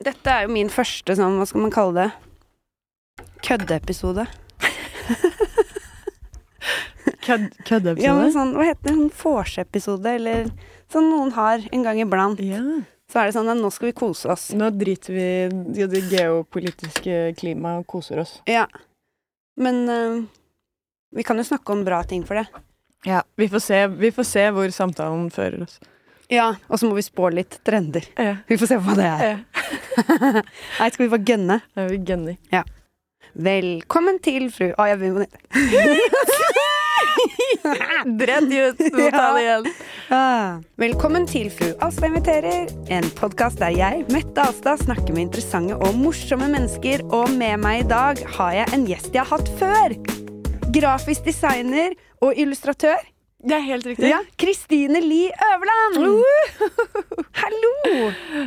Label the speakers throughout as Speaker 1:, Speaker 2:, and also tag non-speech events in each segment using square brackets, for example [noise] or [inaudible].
Speaker 1: Dette er jo min første sånn, hva skal man kalle det, køddeepisode.
Speaker 2: Kødd, køddeepisode?
Speaker 1: Ja, men sånn, hva heter det, sånn vorseepisode, eller sånn noen har en gang iblant.
Speaker 2: Ja.
Speaker 1: Så er det sånn at nå skal vi kose oss.
Speaker 2: sånn Nå driter vi i det geopolitiske klimaet og koser oss.
Speaker 1: Ja. Men eh, vi kan jo snakke om bra ting for det.
Speaker 2: Ja. Vi får se, vi får se hvor samtalen fører oss.
Speaker 1: Ja. Og så må vi spå litt trender. Vi får se hva det er.
Speaker 2: Ja.
Speaker 1: [laughs] Nei, skal vi bare gønne?
Speaker 2: Det er vi gønner.
Speaker 1: Velkommen til fru Å, jeg begynner på nytt.
Speaker 2: Ah, Dredd ut! [laughs]
Speaker 1: må ta det
Speaker 2: igjen.
Speaker 1: Ah. Velkommen til Fru Asta inviterer, en podkast der jeg, Mette Astad, snakker med interessante og morsomme mennesker, og med meg i dag har jeg en gjest jeg har hatt før. Grafisk designer og illustratør.
Speaker 2: Det er helt riktig.
Speaker 1: Ja, Kristine Li Øverland! [laughs] Hallo!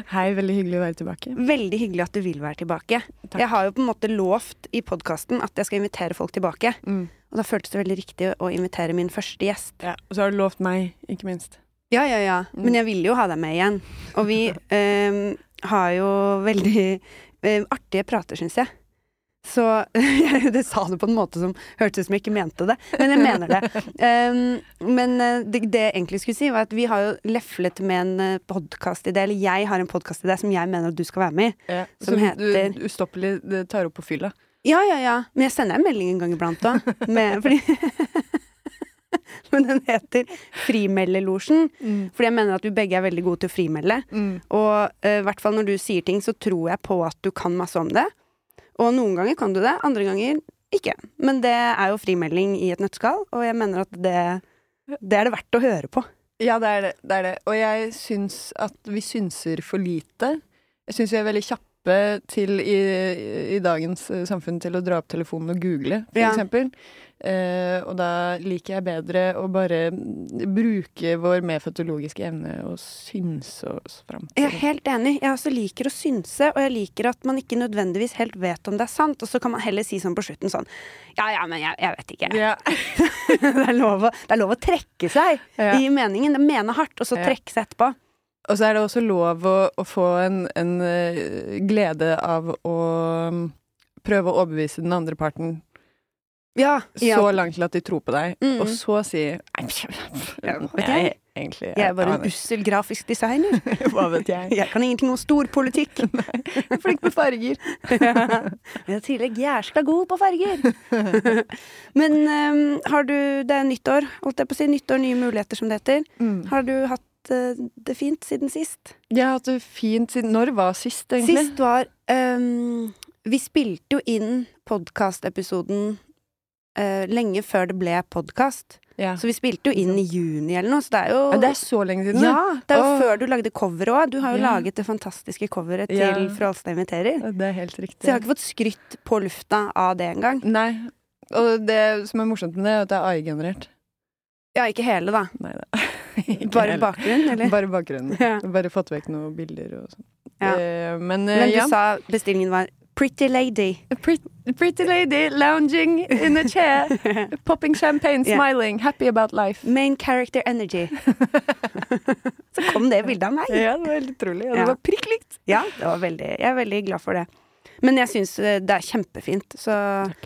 Speaker 2: Hei, veldig hyggelig å være tilbake.
Speaker 1: Veldig hyggelig at du vil være tilbake.
Speaker 2: Takk.
Speaker 1: Jeg har jo på en måte lovt i podkasten at jeg skal invitere folk tilbake.
Speaker 2: Mm.
Speaker 1: Og da føltes det veldig riktig å invitere min første gjest.
Speaker 2: Ja. Og så har du lovt meg, ikke minst.
Speaker 1: Ja, ja, ja. Men jeg ville jo ha deg med igjen. Og vi ehm, har jo veldig ehm, artige prater, syns jeg. Så [laughs] Det sa du på en måte som hørtes ut som jeg ikke mente det, men jeg mener det. Ehm, men eh, det, det jeg egentlig skulle si, var at vi har jo leflet med en podkastidé, eller jeg har en podkastidé som jeg mener at du skal være med i. Som heter-
Speaker 2: du ustoppelig det tar opp på fylla.
Speaker 1: Ja, ja, ja. Men jeg sender en melding en gang iblant òg. [laughs] Fordi Men den heter Frimeldelosjen.
Speaker 2: Mm.
Speaker 1: Fordi jeg mener at vi begge er veldig gode til å frimelde. Og eh, i hvert fall når du sier ting, så tror jeg på at du kan masse om det. Og noen ganger kan du det, andre ganger ikke. Men det er jo frimelding i et nøtteskall, og jeg mener at det, det er det verdt å høre på.
Speaker 2: Ja, det er det. det er det. Og jeg syns at vi synser for lite. Jeg syns vi er veldig kjappe til i, i dagens eh, samfunn til å dra opp telefonen og google, for
Speaker 1: Ja.
Speaker 2: eksempel. Eh, og da liker jeg bedre å bare bruke vår medfødte logiske evne og synse oss fram til
Speaker 1: Jeg er helt enig. Jeg også liker å synse, og jeg liker at man ikke nødvendigvis helt vet om det er sant, og så kan man heller si sånn på slutten sånn Ja, ja, men jeg, jeg vet ikke.
Speaker 2: Ja.
Speaker 1: [laughs] det, er lov å, det er lov å trekke seg
Speaker 2: Ja.
Speaker 1: i meningen. Mene hardt, og så
Speaker 2: Ja.
Speaker 1: trekke seg etterpå.
Speaker 2: Og så er det også lov å, å få en, en eh, glede av å mm, prøve å overbevise den andre parten
Speaker 1: Ja, ja.
Speaker 2: så langt til at de tror på deg,
Speaker 1: Mm.
Speaker 2: og så si «Nei,
Speaker 1: Ja, vet
Speaker 2: Jeg er
Speaker 1: jeg.
Speaker 2: egentlig
Speaker 1: Jeg er bare en [laughs]
Speaker 2: aner
Speaker 1: ussel grafisk designer.
Speaker 2: ikke. Hva vet [laughs] jeg?
Speaker 1: Jeg kan ingenting om storpolitikk.
Speaker 2: [laughs] Jeg er flink
Speaker 1: [laughs]
Speaker 2: med farger.
Speaker 1: Men i tillegg jæskla god på
Speaker 2: [laughs]
Speaker 1: farger. Men øhm, har du Det er nyttår, holdt jeg på å si. Nyttår, nye muligheter, som det heter. Har du hatt øh, det fint siden sist?
Speaker 2: Mm. Jeg har hatt det fint siden Når var sist, egentlig?
Speaker 1: Sist var øhm, Vi spilte jo inn podkastepisoden øh, lenge før det ble podkast.
Speaker 2: Ja.
Speaker 1: Så vi spilte jo inn i juni eller noe, så det er jo
Speaker 2: Ja, det er så lenge siden.
Speaker 1: Ja, det er jo
Speaker 2: Åh.
Speaker 1: før du lagde cover òg. Du har jo
Speaker 2: Ja.
Speaker 1: laget det fantastiske coveret til
Speaker 2: Ja.
Speaker 1: Fru Alstad inviterer.
Speaker 2: det. Det er helt riktig.
Speaker 1: Så jeg har ikke fått skrytt på lufta av det engang.
Speaker 2: Nei. Og det som er morsomt med det, er at det er
Speaker 1: [laughs]
Speaker 2: AI-generert.
Speaker 1: Ja, ikke hele, da.
Speaker 2: Nei da. Ikke
Speaker 1: Bare
Speaker 2: helt.
Speaker 1: bakgrunnen, eller?
Speaker 2: [laughs] Bare bakgrunnen.
Speaker 1: [laughs] Ja.
Speaker 2: Bare fått vekk noen bilder og sånn.
Speaker 1: Ja.
Speaker 2: Eh, men eh,
Speaker 1: Men du
Speaker 2: ja.
Speaker 1: sa bestillingen var Pretty Lady.
Speaker 2: Pretty, pretty lady lounging in a chair,
Speaker 1: [laughs]
Speaker 2: popping champagne,
Speaker 1: Ja.
Speaker 2: smiling, happy about life.
Speaker 1: Main character
Speaker 2: [laughs]
Speaker 1: energy. Så kom det bildet av meg.
Speaker 2: Ja, det var helt utrolig. Og
Speaker 1: Ja.
Speaker 2: det var prikk likt.
Speaker 1: Ja, det var veldig, jeg er veldig glad for det. Men jeg syns eh, det er kjempefint, så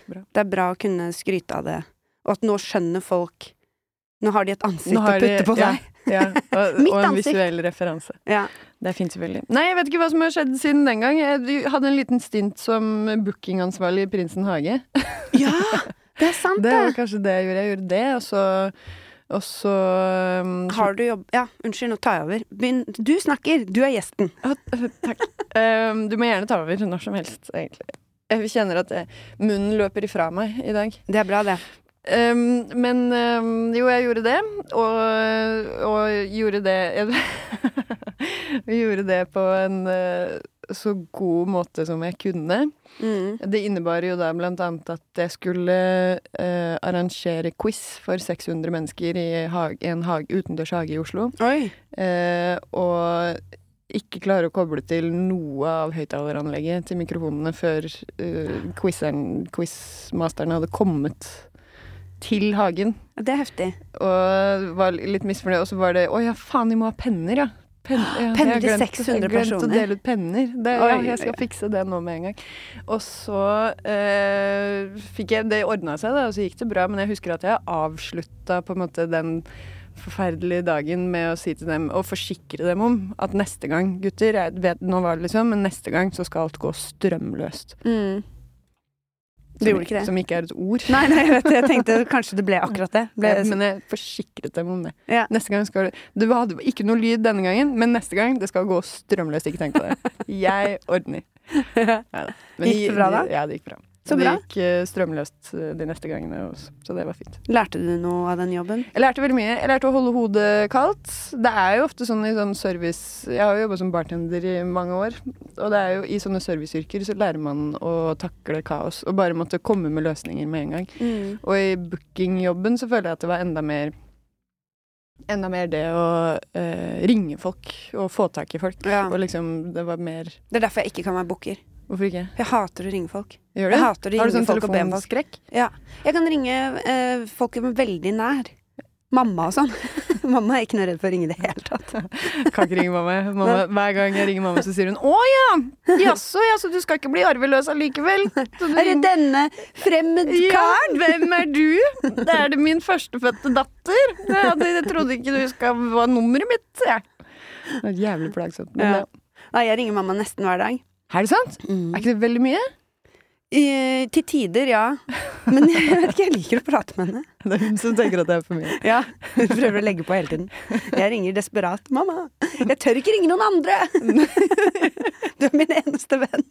Speaker 2: Bra.
Speaker 1: det er bra å kunne skryte av det. Og at nå skjønner folk Nå har de et ansikt
Speaker 2: Nå
Speaker 1: å
Speaker 2: har de-
Speaker 1: putte på
Speaker 2: ja,
Speaker 1: seg.
Speaker 2: Ja, og,
Speaker 1: Mitt
Speaker 2: og en
Speaker 1: ansikt.
Speaker 2: visuell referanse.
Speaker 1: Ja.
Speaker 2: Det er fint, selvfølgelig. Nei, jeg vet ikke hva som har skjedd siden den gang. Jeg du hadde en liten stint som bookingansvarlig i Prinsen hage.
Speaker 1: ja, det er sant,
Speaker 2: Det
Speaker 1: det.
Speaker 2: var kanskje det jeg gjorde. Jeg gjorde det, og så, og så um,
Speaker 1: Har du jobb... Ja, unnskyld, nå tar jeg over. Begynn. Du snakker, du er gjesten.
Speaker 2: Ah, Takk. Um, du må gjerne ta over når som helst, egentlig. Jeg kjenner at eh, munnen løper ifra meg i dag.
Speaker 1: Det er bra, det.
Speaker 2: Um, men um, jo, jeg gjorde det, og, og gjorde det jeg [laughs] Gjorde det på en eh, så god måte som jeg kunne.
Speaker 1: Mm.
Speaker 2: Det innebar jo da blant annet at jeg skulle eh, arrangere quiz for 600 mennesker i hag, en hag, utendørs hage i Oslo.
Speaker 1: Oi.
Speaker 2: Eh, og ikke klare å koble til noe av høyttaleranlegget til mikrofonene før eh, quizeren, quizmasteren hadde kommet til hagen.
Speaker 1: Det er heftig.
Speaker 2: Og var litt misfornøyd. Og så var det 'Å ja, faen, vi må ha penner, ja'. Pen, ja,
Speaker 1: Penner
Speaker 2: jeg
Speaker 1: til 600
Speaker 2: glemte- Jeg
Speaker 1: personer.
Speaker 2: glemte å dele ut penner. Det, ja,
Speaker 1: Oi,
Speaker 2: jeg skal
Speaker 1: oi,
Speaker 2: fikse det nå med en gang. Og så eh, fikk jeg Det ordna seg, da, og så gikk det bra. Men jeg husker at jeg avslutta på en måte den forferdelige dagen med å si til dem og forsikre dem om at neste gang, gutter jeg vet, Nå var det liksom, men neste gang så skal alt gå strømløst.
Speaker 1: Mm. Du
Speaker 2: Som-
Speaker 1: gjorde ikke det?
Speaker 2: Som ikke er et ord.
Speaker 1: Nei, nei, jeg vet det. Jeg tenkte
Speaker 2: [laughs]
Speaker 1: kanskje det ble akkurat det. Ble,
Speaker 2: Ja, men jeg forsikret dem om det.
Speaker 1: Eh, Ja.
Speaker 2: Neste gang skal Du Du hadde ikke noe lyd denne gangen, men neste gang det skal gå strømløst. Ikke tenk på det. Jeg ordner.
Speaker 1: [laughs]
Speaker 2: Neida. Men
Speaker 1: Gikk det bra da?
Speaker 2: Ja, det gikk bra.
Speaker 1: Så
Speaker 2: det
Speaker 1: bra.
Speaker 2: gikk eh, strømløst eh, de neste gangene også, så det var fint.
Speaker 1: Lærte du noe av den jobben?
Speaker 2: Jeg lærte veldig mye. Jeg lærte å holde hodet kaldt. Det er jo ofte sånn i sånn service Jeg har jo jobba som bartender i mange år. Og det er jo i sånne serviceyrker så lærer man å takle kaos og bare måtte komme med løsninger med en gang. Og i bookingjobben så føler jeg at det var enda mer Enda mer det å eh, ringe folk og få tak i folk.
Speaker 1: Ja.
Speaker 2: Og liksom, det var mer
Speaker 1: Det er derfor jeg ikke kan være booker.
Speaker 2: Hvorfor ikke?
Speaker 1: For jeg hater å ringe folk.
Speaker 2: Gjør du?
Speaker 1: Jeg hater å
Speaker 2: Har du
Speaker 1: ringe
Speaker 2: sånn
Speaker 1: folk og be om folk.
Speaker 2: [laughs] telefonskrekk?
Speaker 1: Ja. Jeg kan ringe eh, folk som er veldig nær. Mamma og sånn. [laughs] mamma er ikke noe redd for å ringe i det hele tatt.
Speaker 2: Kan ikke ringe mamma. mamma. Hver gang jeg ringer mamma, så sier hun 'Å ja! Jaså, ja, så du skal ikke bli arveløs allikevel?' Så
Speaker 1: [laughs]
Speaker 2: du
Speaker 1: Er det denne
Speaker 2: Ja,
Speaker 1: fremmedkaren?
Speaker 2: hvem er du? Det er det min førstefødte datter. Jeg hadde- jeg trodde ikke du huska hva nummeret mitt jeg. Det er jævlig plagsomt. Men
Speaker 1: Ja. Mm.
Speaker 2: det-
Speaker 1: Nei, jeg ringer mamma nesten hver dag.
Speaker 2: Er det sant? Er ikke det veldig mye?
Speaker 1: Eh, til tider, ja. Men jeg vet ikke, jeg liker å prate med henne.
Speaker 2: [laughs] Det er hun som tenker at det er for mye.
Speaker 1: Ja, Hun prøver å legge på hele tiden. Jeg ringer desperat. 'Mamma, jeg tør ikke ringe noen andre!' Du er min eneste venn.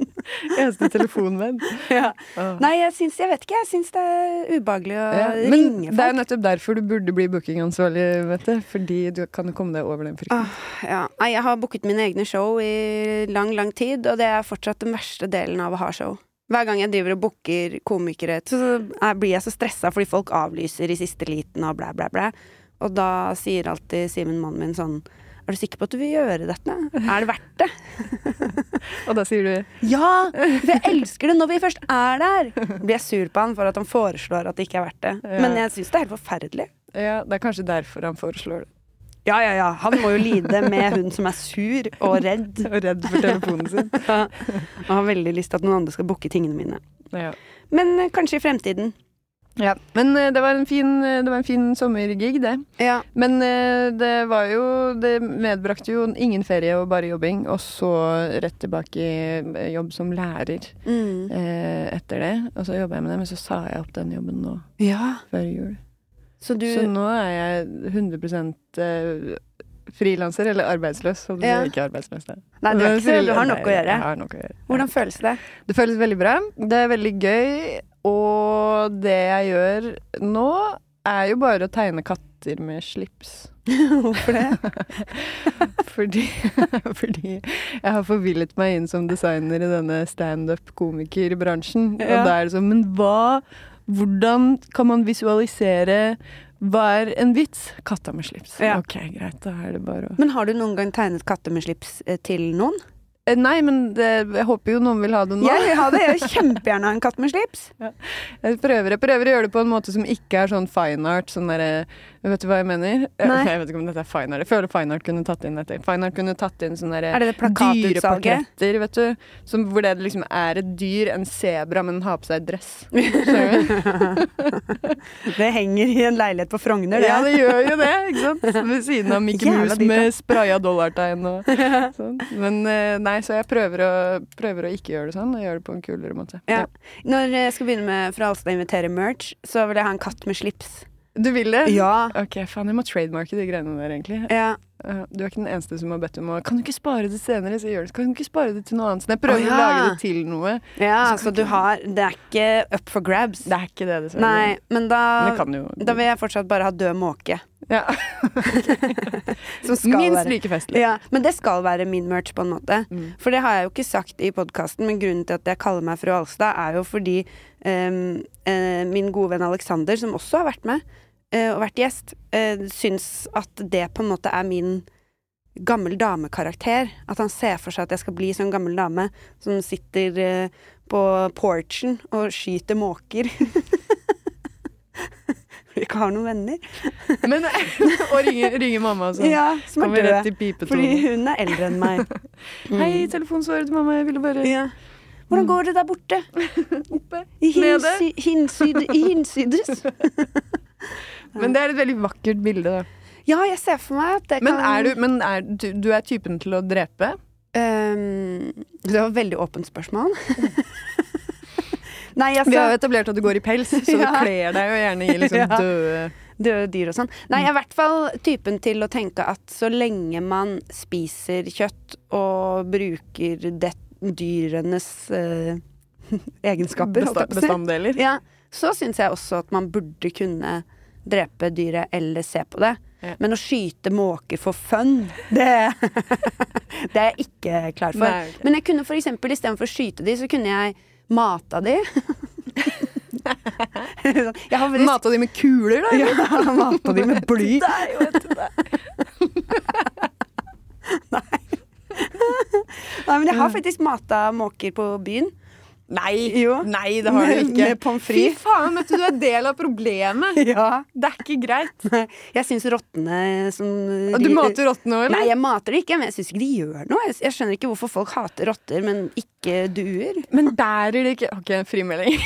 Speaker 2: Eneste telefonvenn.
Speaker 1: Ja.
Speaker 2: Åh.
Speaker 1: Nei, jeg syns Jeg vet ikke. Jeg syns det er ubehagelig å
Speaker 2: Ja, men
Speaker 1: ringe
Speaker 2: det er
Speaker 1: folk.
Speaker 2: jo nettopp derfor du burde bli bookingansvarlig, vet du. Fordi du kan jo komme deg over den frykten.
Speaker 1: Åh, ja. Nei, jeg har booket mine egne show i lang, lang tid, og det er fortsatt den verste delen av å ha show. Hver gang jeg driver og booker komikere, så er- blir jeg så stressa fordi folk avlyser i siste liten og blæ, blæ, blæ. Og da sier alltid Simen, mannen min, sånn Er du sikker på at du vil gjøre dette? Er det verdt det?
Speaker 2: Og da sier du
Speaker 1: [laughs] Ja! For jeg elsker det når vi først er der! [laughs] Blir jeg sur på han for at han foreslår at det ikke er verdt det.
Speaker 2: Ja.
Speaker 1: Men jeg syns det er helt forferdelig.
Speaker 2: Ja, det er kanskje derfor han foreslår det.
Speaker 1: Ja, ja, ja. Han må jo lide med hun som er sur og redd.
Speaker 2: Og redd for telefonen sin.
Speaker 1: Ja. Og har veldig lyst til at noen andre skal booke tingene mine.
Speaker 2: [laughs] Ja.
Speaker 1: Men eh, kanskje i fremtiden.
Speaker 2: Ja. Men eh, det var en fin, det var en fin sommergig, det.
Speaker 1: Ja.
Speaker 2: Men eh, det var jo Det medbrakte jo ingen ferie og bare jobbing, og så rett tilbake i eh, jobb som lærer
Speaker 1: Mm.
Speaker 2: eh, etter det. Og så jobba jeg med det, men så sa jeg opp den jobben nå
Speaker 1: ja.
Speaker 2: før jul.
Speaker 1: Så du
Speaker 2: Så nå er jeg 100 eh, frilanser, eller arbeidsløs. Holdt på å si.
Speaker 1: Ja.
Speaker 2: Ikke arbeidsløs, da.
Speaker 1: Nei, du, er ikke, så- du har nok
Speaker 2: Nei,
Speaker 1: å gjøre.
Speaker 2: Jeg har nok å gjøre.
Speaker 1: Hvordan føles det?
Speaker 2: Det føles veldig bra. Det er veldig gøy. Og det jeg gjør nå, er jo bare å tegne katter med slips.
Speaker 1: [laughs] Hvorfor det?
Speaker 2: Fordi, [laughs] fordi jeg har forvillet meg inn som designer i denne standup-komikerbransjen.
Speaker 1: Ja.
Speaker 2: Og da er det sånn Men hva Hvordan kan man visualisere hva er en vits? Katta med slips.
Speaker 1: Ja.
Speaker 2: Ok, greit. Da er det bare å
Speaker 1: Men har du noen gang tegnet katter med slips eh, til noen?
Speaker 2: Eh, Nei, men det, jeg håper jo noen vil ha det nå.
Speaker 1: Jeg vil ha det. Jeg vil kjempegjerne ha en katt med slips.
Speaker 2: Jeg prøver, jeg prøver å gjøre det på en måte som ikke er sånn fine art. Sånn derre Vet du hva jeg mener? Jeg,
Speaker 1: Nei.
Speaker 2: [laughs] jeg vet ikke om dette er fine art. Jeg føler fine art kunne tatt inn dette. Fine art kunne tatt inn sånn derre
Speaker 1: Er det det plakatutsalget?
Speaker 2: Dyreportretter, vet du. Som, hvor det liksom er et dyr, en sebra, men har på seg dress. [laughs] Skjønner du?
Speaker 1: Det henger i en leilighet på Frogner, det.
Speaker 2: ja, det gjør jo det, ikke sant? Ved siden av Mickey
Speaker 1: Jævla
Speaker 2: Mouse
Speaker 1: dyrt, da.
Speaker 2: med spraya dollartegn
Speaker 1: [laughs]
Speaker 2: og sånn. Men eh, nei, så jeg prøver å, prøver å ikke gjøre det sånn, og gjøre det på en kulere måte.
Speaker 1: Ja. Når jeg skal begynne med Fra Alstad inviterer merch, så vil jeg ha en katt med slips.
Speaker 2: Du vil det?
Speaker 1: Ja.
Speaker 2: Ok, faen, jeg må trademarke de greiene der, egentlig.
Speaker 1: ja.
Speaker 2: Uh, Du er ikke den eneste som har bedt om å Kan du ikke spare det senere? Så gjør det. Kan du ikke spare det til noe annet? Så jeg
Speaker 1: Å,
Speaker 2: prøver
Speaker 1: ja.
Speaker 2: å lage det til noe.
Speaker 1: Ja, så du har Det er ikke up for grabs.
Speaker 2: Det er ikke det, dessverre.
Speaker 1: Nei, men da
Speaker 2: Men jeg kan jo
Speaker 1: Da vil jeg fortsatt bare ha død måke.
Speaker 2: ja.
Speaker 1: [laughs] Som skal
Speaker 2: Minst
Speaker 1: være
Speaker 2: like festlig.
Speaker 1: ja, Men det skal være min merch, på en måte.
Speaker 2: Mm.
Speaker 1: For det har jeg jo ikke sagt i podkasten, men grunnen til at jeg kaller meg fru Alstad, er jo fordi ehm, eh, min gode venn Aleksander, som også har vært med eh, og vært gjest, eh, syns at det på en måte er min gammel damekarakter. At han ser for seg at jeg skal bli sånn gammel dame som sitter eh, [laughs] på porchen og skyter måker. ikke har noen venner.
Speaker 2: Men, [laughs] og ringe, ringe mamma, altså.
Speaker 1: Ja, som er
Speaker 2: Kommer rett
Speaker 1: døde.
Speaker 2: i
Speaker 1: Fordi
Speaker 2: pipetonen. Mm.
Speaker 1: hun er eldre enn
Speaker 2: [laughs]
Speaker 1: meg.
Speaker 2: Hei, telefonsvarer til mamma, jeg ville bare
Speaker 1: Ja. Hvordan går det der borte?
Speaker 2: Mm. [laughs] oppe.
Speaker 1: I
Speaker 2: Nede?
Speaker 1: hinsi, hinsyd, i hinsides?
Speaker 2: [laughs] Men det er et veldig vakkert bilde, da.
Speaker 1: Ja, jeg ser for meg at det
Speaker 2: Men
Speaker 1: kan
Speaker 2: er du, men er, du, du er typen til å drepe?
Speaker 1: Ehm, Det var et veldig åpent
Speaker 2: [laughs]
Speaker 1: spørsmål. Nei, altså
Speaker 2: Vi har jo etablert at du går i pels, så du
Speaker 1: [laughs] Ja.
Speaker 2: kler deg jo gjerne i liksom
Speaker 1: [laughs] Ja.
Speaker 2: døde
Speaker 1: døde dyr og sånn. Nei,
Speaker 2: Mm.
Speaker 1: jeg er i hvert fall typen til å tenke at så lenge man spiser kjøtt og bruker det, dyrenes eh, [laughs] egenskaper, holdt jeg på
Speaker 2: besta-
Speaker 1: å si.
Speaker 2: bestanddeler.
Speaker 1: [laughs] Ja, så syns jeg også at man burde kunne drepe dyret eller se på det.
Speaker 2: Ja.
Speaker 1: Men å skyte måker for fun, det, [laughs] det er jeg ikke klar for.
Speaker 2: Nei, ok.
Speaker 1: Men jeg kunne for eksempel istedenfor å skyte de, så kunne jeg mata de. [laughs] jeg har veldig
Speaker 2: Mata de med kuler, da?
Speaker 1: ja, [laughs] mata de med
Speaker 2: [laughs]
Speaker 1: bly.
Speaker 2: Der, jo, vet du det.
Speaker 1: [laughs] Nei, men
Speaker 2: Mm.
Speaker 1: jeg har faktisk mata måker på byen.
Speaker 2: Nei,
Speaker 1: Jo.
Speaker 2: nei, det har du
Speaker 1: Med-
Speaker 2: ikke.
Speaker 1: med pommes frites.
Speaker 2: Fy faen, vet du, du er del av problemet.
Speaker 1: [laughs] Ja.
Speaker 2: Det er ikke greit.
Speaker 1: Jeg syns rottene som
Speaker 2: Og du mater rottene òg,
Speaker 1: Nei,
Speaker 2: eller?
Speaker 1: jeg mater det ikke, men jeg syns ikke de gjør noe. Jeg, jeg skjønner ikke hvorfor folk hater rotter, men ikke duer. [laughs]
Speaker 2: Men bærer det ikke OK, frimelding.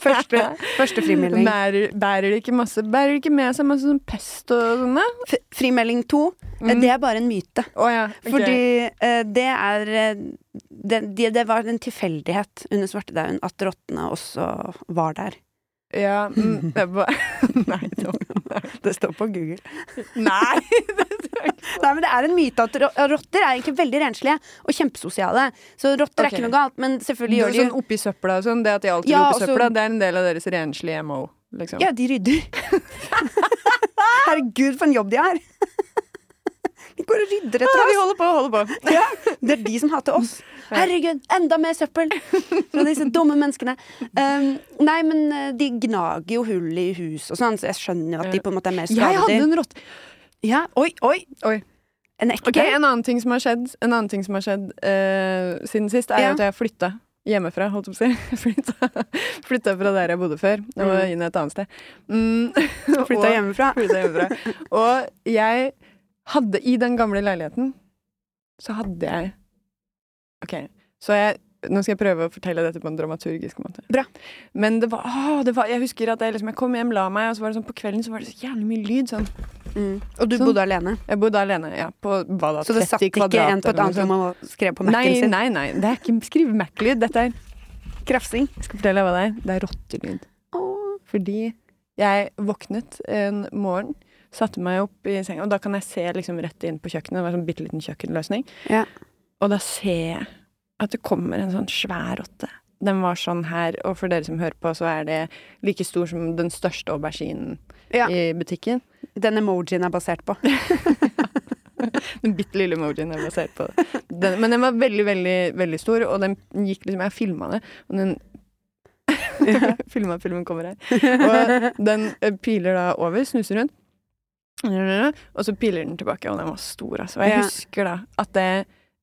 Speaker 1: første, første frimelding.
Speaker 2: [laughs] Bærer, bærer det ikke masse Bærer det ikke med seg masse sånn pest og sånne?
Speaker 1: F frimelding to, eh, det er bare en myte.
Speaker 2: Å ja. Mm. ok.
Speaker 1: Fordi eh, det er eh, det, det, det var en tilfeldighet under svartedauden at rottene også var der.
Speaker 2: Ja. mm, det var- [laughs] Nei, det var
Speaker 1: Det står på Google.
Speaker 2: [laughs] Nei! [laughs]
Speaker 1: Nei, men Det er en myte at ro- rotter er egentlig veldig renslige og kjempesosiale. Så rotter er
Speaker 2: Ok.
Speaker 1: ikke noe galt, men selvfølgelig
Speaker 2: Gjør
Speaker 1: gjør de
Speaker 2: sånn oppi søpla og sånn. Det at de alltid
Speaker 1: Ja,
Speaker 2: er oppi
Speaker 1: og så-
Speaker 2: søpla, det er en del av deres renslige MO. Liksom.
Speaker 1: Ja, de rydder. [laughs] Herregud, for en jobb de har! De går og rydder etter
Speaker 2: Ja, de
Speaker 1: oss.
Speaker 2: holder på, holder på.
Speaker 1: Ja, det er de som hater oss. Herregud, enda mer søppel fra disse dumme menneskene. Um, nei, men eh, de gnager jo hull i hus og sånn, så jeg skjønner jo at de på en måte er mer
Speaker 2: Jeg hadde
Speaker 1: skadedyr.
Speaker 2: en rotte
Speaker 1: Ja, oi, oi!
Speaker 2: Oi.
Speaker 1: En ekte?
Speaker 2: Ok, en annen ting som har skjedd, en annen ting som har skjedd eh, siden sist, er
Speaker 1: Ja.
Speaker 2: at jeg flytta hjemmefra, holdt jeg på å si. [laughs] flytta, flytta fra der jeg bodde før, og
Speaker 1: Mm.
Speaker 2: inn et annet sted. Mm, og-
Speaker 1: Flytta hjemmefra.
Speaker 2: Flytta hjemmefra. Og jeg hadde I den gamle leiligheten så hadde jeg OK, så jeg nå skal jeg prøve å fortelle dette på en dramaturgisk måte.
Speaker 1: Bra.
Speaker 2: Men det var, åh, det var Jeg husker at jeg, liksom, jeg kom hjem, la meg, og så var det sånn på kvelden så var det så jævlig mye lyd. Sånn.
Speaker 1: Mm. Og du
Speaker 2: Sånn.
Speaker 1: bodde alene,
Speaker 2: Jeg bodde alene, ja, på hva da, 30 kvadrat.
Speaker 1: så det satt ikke en på et
Speaker 2: eller noe
Speaker 1: annet
Speaker 2: sånt.
Speaker 1: rom og skrev på Mac-en sin?
Speaker 2: Nei, nei, nei. Det er ikke skrive-Mac-lyd. Dette er
Speaker 1: Krafsing?
Speaker 2: Jeg skal fortelle deg hva det er. Det er rottelyd.
Speaker 1: Åh.
Speaker 2: Fordi jeg våknet en morgen, satte meg opp i senga, og da kan jeg se liksom rett inn på kjøkkenet. Det var en sånn bitte liten kjøkkenløsning.
Speaker 1: Ja.
Speaker 2: Og da ser jeg at det kommer en sånn svær rotte. Den var sånn her, og for dere som hører på, så er det like stor som den største auberginen
Speaker 1: Ja.
Speaker 2: i butikken.
Speaker 1: Den emojien er basert
Speaker 2: [laughs]
Speaker 1: på.
Speaker 2: Den bitte lille emojien jeg basert på det. Den, men den var veldig, veldig veldig stor, og den gikk liksom Jeg filma det, og den [laughs] Filma filmen kommer her. Og den eh, piler da over, snuser rundt, og så piler den tilbake, og den var stor, altså. Og jeg
Speaker 1: Ja.
Speaker 2: husker da at det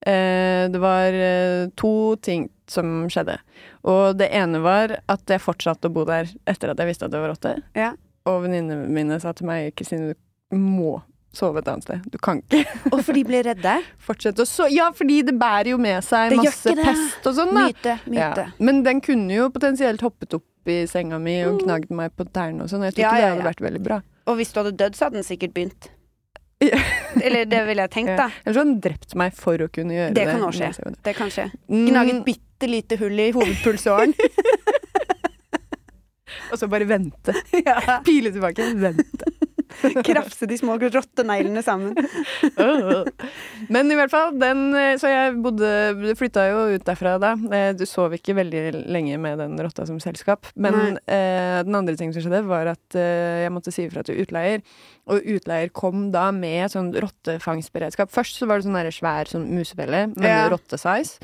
Speaker 2: eh, Det var eh, to ting som skjedde. Og det ene var at jeg fortsatte å bo der etter at jeg visste at det var rotte.
Speaker 1: Ja.
Speaker 2: Og venninnene mine sa til meg Kristine, du må sove et annet sted. Du kan ikke
Speaker 1: Og for de ble redde?
Speaker 2: Fortsette å så Ja, fordi det bærer jo med seg
Speaker 1: Det gjør
Speaker 2: masse
Speaker 1: ikke det.
Speaker 2: pest og sånn, da.
Speaker 1: Myte, myte.
Speaker 2: Ja. Men den kunne jo potensielt hoppet opp i senga mi og gnagd meg på tærne og sånn. Jeg
Speaker 1: Mm.
Speaker 2: tror
Speaker 1: Ja,
Speaker 2: ikke det
Speaker 1: ja,
Speaker 2: hadde
Speaker 1: ja.
Speaker 2: vært veldig bra.
Speaker 1: Og hvis du hadde dødd, så hadde den sikkert begynt.
Speaker 2: Ja.
Speaker 1: Eller det ville jeg tenkt, da.
Speaker 2: Eller så hadde den drept meg for å kunne gjøre
Speaker 1: Det
Speaker 2: det.
Speaker 1: kan også skje. Det kan skje.
Speaker 2: Mm,
Speaker 1: Gnag et bitte lite hull i
Speaker 2: [laughs]
Speaker 1: hovedpulsåren.
Speaker 2: og så bare vente. [laughs]
Speaker 1: ja.
Speaker 2: Pile tilbake. Vente.
Speaker 1: [laughs] Krafse de små rotteneglene sammen.
Speaker 2: [laughs] Men i hvert fall, den eh, Så jeg bodde Flytta jo ut derfra da. Eh, Du sov ikke veldig lenge med den rotta som selskap. Men eh, den andre tingen som skjedde, var at eh, jeg måtte si ifra til utleier. Og utleier kom da med sånn rottefangstberedskap. Først så var det sånn der svær sånn musefelle med
Speaker 1: Ja.
Speaker 2: rottesize.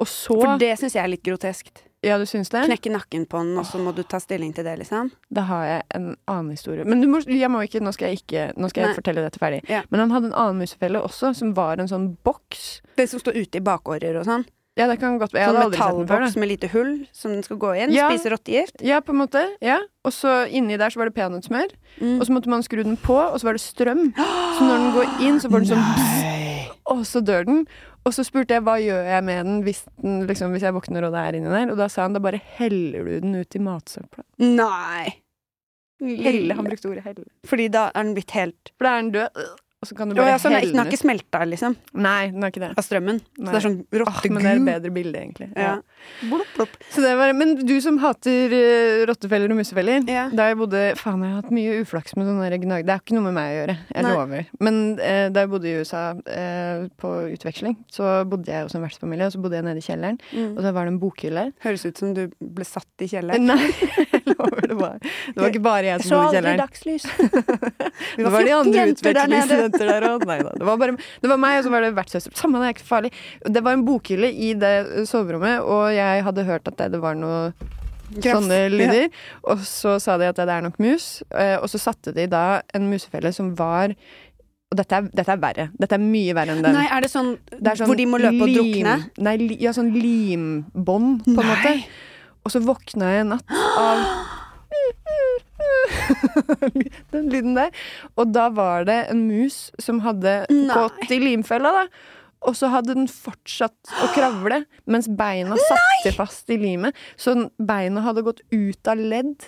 Speaker 2: Og så
Speaker 1: For det syns jeg er litt groteskt.
Speaker 2: Ja, du syns det?
Speaker 1: Knekke nakken på den, og så må du ta stilling til det, liksom.
Speaker 2: Da har jeg en annen historie. Men du må, jeg må ikke, nå skal jeg ikke Nå skal jeg
Speaker 1: Nei.
Speaker 2: fortelle dette ferdig.
Speaker 1: Ja.
Speaker 2: Men han hadde en annen musefelle også, som var en sånn boks.
Speaker 1: Det som står ute i bakårer og sånn.
Speaker 2: Ja, det kan godt være. Jeg
Speaker 1: Sånn
Speaker 2: hadde aldri sett den før.
Speaker 1: metallboks med lite hull som den skal gå inn.
Speaker 2: Ja.
Speaker 1: Spise rottegift.
Speaker 2: da. Ja, på en måte. Ja. Og så inni der så var det peanøttsmør.
Speaker 1: Mm.
Speaker 2: Og så måtte man skru den på, og så var det strøm. Så når den går inn, så får den sånn bzz, og så dør den. Og så spurte jeg hva gjør jeg med den hvis, den, liksom, hvis jeg våkner og det er inni der. Og da sa han da bare heller du den ut i matsøpla.
Speaker 1: Nei!
Speaker 2: Helle, han brukte ordet helle.
Speaker 1: Fordi da er den blitt helt
Speaker 2: For da er den død, og så kan du
Speaker 1: Å
Speaker 2: bare
Speaker 1: ja, sånn,
Speaker 2: helle
Speaker 1: Den har
Speaker 2: den
Speaker 1: ikke
Speaker 2: ut.
Speaker 1: smelta, liksom,
Speaker 2: Nei, den er ikke det.
Speaker 1: av strømmen.
Speaker 2: Nei.
Speaker 1: Så det er sånn
Speaker 2: Åh, men det er et
Speaker 1: rottegul.
Speaker 2: bedre bilde, egentlig.
Speaker 1: Ja. Blopp, blopp.
Speaker 2: Så det var, men du som hater eh, rottefeller og mussefeller
Speaker 1: Ja.
Speaker 2: Da jeg bodde Faen, jeg har hatt mye uflaks med sånne der gnag... Det er ikke noe med meg å gjøre, jeg
Speaker 1: Nei.
Speaker 2: lover. Men eh, da jeg bodde i USA eh, på utveksling, så bodde jeg hos en vertsfamilie, og så bodde jeg nede i kjelleren. Og
Speaker 1: Mm.
Speaker 2: da var det en bokhylle.
Speaker 1: Høres ut som du ble satt i kjelleren.
Speaker 2: Nei, [laughs] jeg lover, det var, det var ikke bare
Speaker 1: Jeg
Speaker 2: jeg som
Speaker 1: så
Speaker 2: bodde i
Speaker 1: aldri
Speaker 2: kjelleren.
Speaker 1: dagslys. [laughs] Vi
Speaker 2: Det var de
Speaker 1: 14
Speaker 2: andre
Speaker 1: jenter der nede.
Speaker 2: utvekslingsstudenter der òg. Nei da. Det var, bare, det var meg, og så var det vertssøster. Samme det, er ikke farlig. Det var en bokhylle i det eh, soverommet, og jeg hadde hørt at det- det var noe
Speaker 1: Krafs.
Speaker 2: sånne lyder. Og så sa de at det er nok mus, eh, og så satte de da en musefelle som var Og dette er, dette er verre. Dette er mye verre enn den.
Speaker 1: Nei, er det sånn,
Speaker 2: Det er sånn
Speaker 1: hvor de må løpe og
Speaker 2: lim-
Speaker 1: drukne?
Speaker 2: Nei, li, ja, sånn limbånd, på en
Speaker 1: Nei.
Speaker 2: måte. Og så våkna jeg en natt av [laughs] Den lyden der. Og da var det en mus som hadde
Speaker 1: Nei.
Speaker 2: gått i limfella, da. Og så hadde den fortsatt å kravle, mens beina satte fast i limet. Så den- beina hadde gått ut av ledd.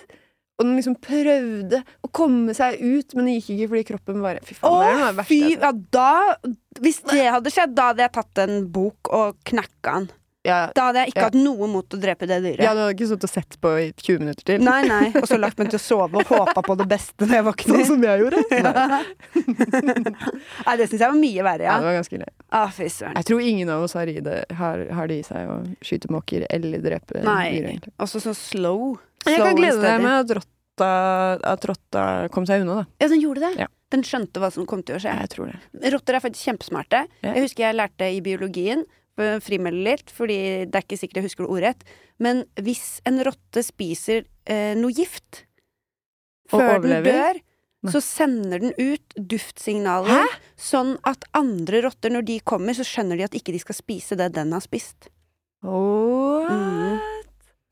Speaker 2: Og den liksom prøvde å komme seg ut, men det gikk ikke fordi kroppen bare Fy faen, det er noe av
Speaker 1: Å,
Speaker 2: det verste.
Speaker 1: fy!
Speaker 2: jeg
Speaker 1: Ja, da Hvis det hadde skjedd, da hadde jeg tatt en bok og knakka den.
Speaker 2: har- Ja,
Speaker 1: Da hadde jeg ikke
Speaker 2: Ja.
Speaker 1: hatt noe mot å drepe det dyret.
Speaker 2: Ja, du hadde ikke stått og sett på i 20 minutter til?
Speaker 1: Nei, nei. [laughs] Og så lagt meg til å sove og håpa på det beste når jeg
Speaker 2: [laughs] Sånn
Speaker 1: våkner.
Speaker 2: som jeg [laughs] gjorde? Nei.
Speaker 1: Nei, det syns jeg var mye verre,
Speaker 2: Ja,
Speaker 1: ja.
Speaker 2: det var ganske ille.
Speaker 1: Å, fy søren.
Speaker 2: Jeg tror ingen av oss har, i det, har, har det i seg å skyte måker eller drepe
Speaker 1: Nei.
Speaker 2: dyr, egentlig.
Speaker 1: Også sånn slow.
Speaker 2: Jeg
Speaker 1: Slow
Speaker 2: kan
Speaker 1: and
Speaker 2: glede
Speaker 1: steady.
Speaker 2: deg med at rotta, at rotta kom seg unna, da.
Speaker 1: Ja, den gjorde det.
Speaker 2: Ja.
Speaker 1: Den skjønte hva som kom til å skje.
Speaker 2: Jeg tror det.
Speaker 1: Rotter er faktisk kjempesmarte.
Speaker 2: Ja.
Speaker 1: Jeg husker jeg lærte i biologien, eh, frimelder litt, fordi det er ikke sikkert jeg husker det ordrett, men hvis en rotte spiser eh, noe gift
Speaker 2: Og
Speaker 1: før den
Speaker 2: overlever?
Speaker 1: dør,
Speaker 2: Nei.
Speaker 1: så sender den ut duftsignaler, sånn at andre rotter, når de kommer, så skjønner de at ikke de skal spise det den har spist. Mm.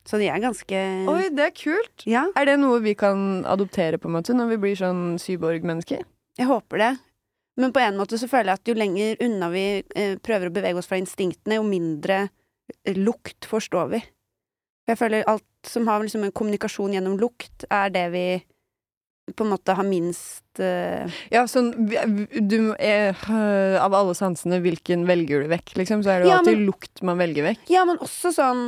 Speaker 1: Så de er ganske
Speaker 2: Oi, det er kult!
Speaker 1: Ja,
Speaker 2: Er det noe vi kan adoptere, på en måte, når vi blir sånn syborg-mennesker?
Speaker 1: jeg håper det. Men på en måte så føler jeg at jo lenger unna vi eh, prøver å bevege oss fra instinktene, jo mindre eh, lukt forstår vi. For jeg føler alt som har liksom en kommunikasjon gjennom lukt, er det vi på en måte har minst eh,
Speaker 2: Ja, sånn vi- du, eh, Av alle sansene, hvilken velger du vekk, liksom? Så er det jo
Speaker 1: Ja,
Speaker 2: alltid lukt man velger vekk.
Speaker 1: Ja, men også sånn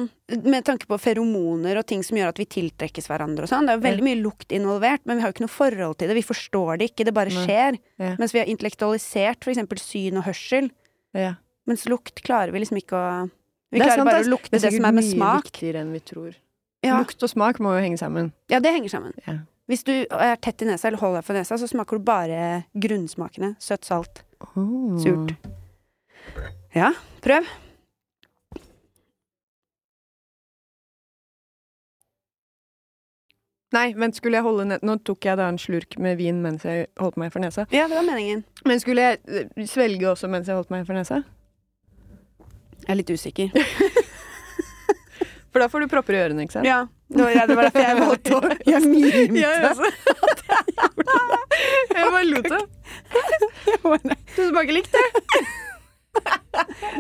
Speaker 1: med tanke på feromoner og ting som gjør at vi tiltrekkes hverandre og sånn. Det er jo veldig mye lukt involvert, men vi har jo ikke noe forhold til det. Vi forstår det ikke, det bare
Speaker 2: Nei.
Speaker 1: skjer.
Speaker 2: Ja.
Speaker 1: Mens vi har intellektualisert for eksempel syn og hørsel.
Speaker 2: Ja.
Speaker 1: Mens lukt klarer vi liksom ikke å Vi
Speaker 2: Det er
Speaker 1: klarer
Speaker 2: sant,
Speaker 1: bare å
Speaker 2: ass.
Speaker 1: lukte det, som er med smak.
Speaker 2: viktigere enn vi tror.
Speaker 1: Ja.
Speaker 2: Lukt og smak må jo henge sammen.
Speaker 1: ja, det henger sammen.
Speaker 2: Ja.
Speaker 1: Hvis du er tett i nesa eller holder deg for nesa, så smaker du bare grunnsmakene. Søtt, salt, surt. Ja, prøv.
Speaker 2: Nei, vent, skulle jeg holde ned Nå tok jeg da en slurk med vin mens jeg holdt meg for nesa.
Speaker 1: Ja, det var meningen.
Speaker 2: Men skulle jeg eh, svelge også mens jeg holdt meg for nesa?
Speaker 1: Jeg er litt usikker.
Speaker 2: For da får du propper i ørene,
Speaker 1: [laughs]
Speaker 2: ikke sant?
Speaker 1: Ja, det var, ja, det var derfor jeg [laughs] valgte å Jeg mimet.
Speaker 2: Jeg bare lot det. [laughs] Du smaker likt, det.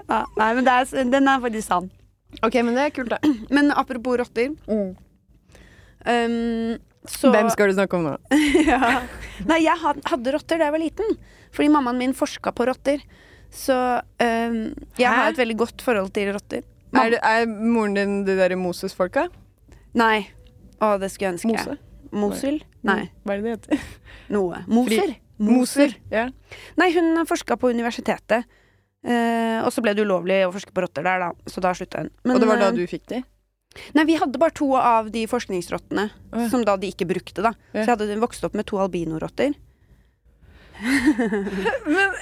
Speaker 1: Ja, nei, men det er, den er faktisk sann.
Speaker 2: OK, men det er kult, da.
Speaker 1: Men apropos rotter øhm, så
Speaker 2: Hvem skal du snakke om nå?
Speaker 1: [laughs] ja. Nei, jeg had- hadde rotter da jeg var liten. Fordi mammaen min forska på rotter. Så øhm, jeg
Speaker 2: Hæ?
Speaker 1: har et veldig godt forhold til rotter. Mam-
Speaker 2: Er, det- er moren din de derre Moses-folka?
Speaker 1: Nei. Å, det skulle jeg ønske.
Speaker 2: Mose? Mm.
Speaker 1: Mosul? Nei.
Speaker 2: Hva er det det heter?
Speaker 1: Noe. Moser? Moser.
Speaker 2: Ja.
Speaker 1: Nei, hun forska på universitetet. Eh, og så ble det ulovlig å forske på rotter der, da. Så da slutta hun. Men,
Speaker 2: Og det var da
Speaker 1: eh,
Speaker 2: du fikk de?
Speaker 1: Nei, vi hadde bare to av de forskningsrottene
Speaker 2: Å ja.
Speaker 1: som da de ikke brukte, da.
Speaker 2: Ja.
Speaker 1: Så jeg hadde vokst opp med to albinorotter.
Speaker 2: Men,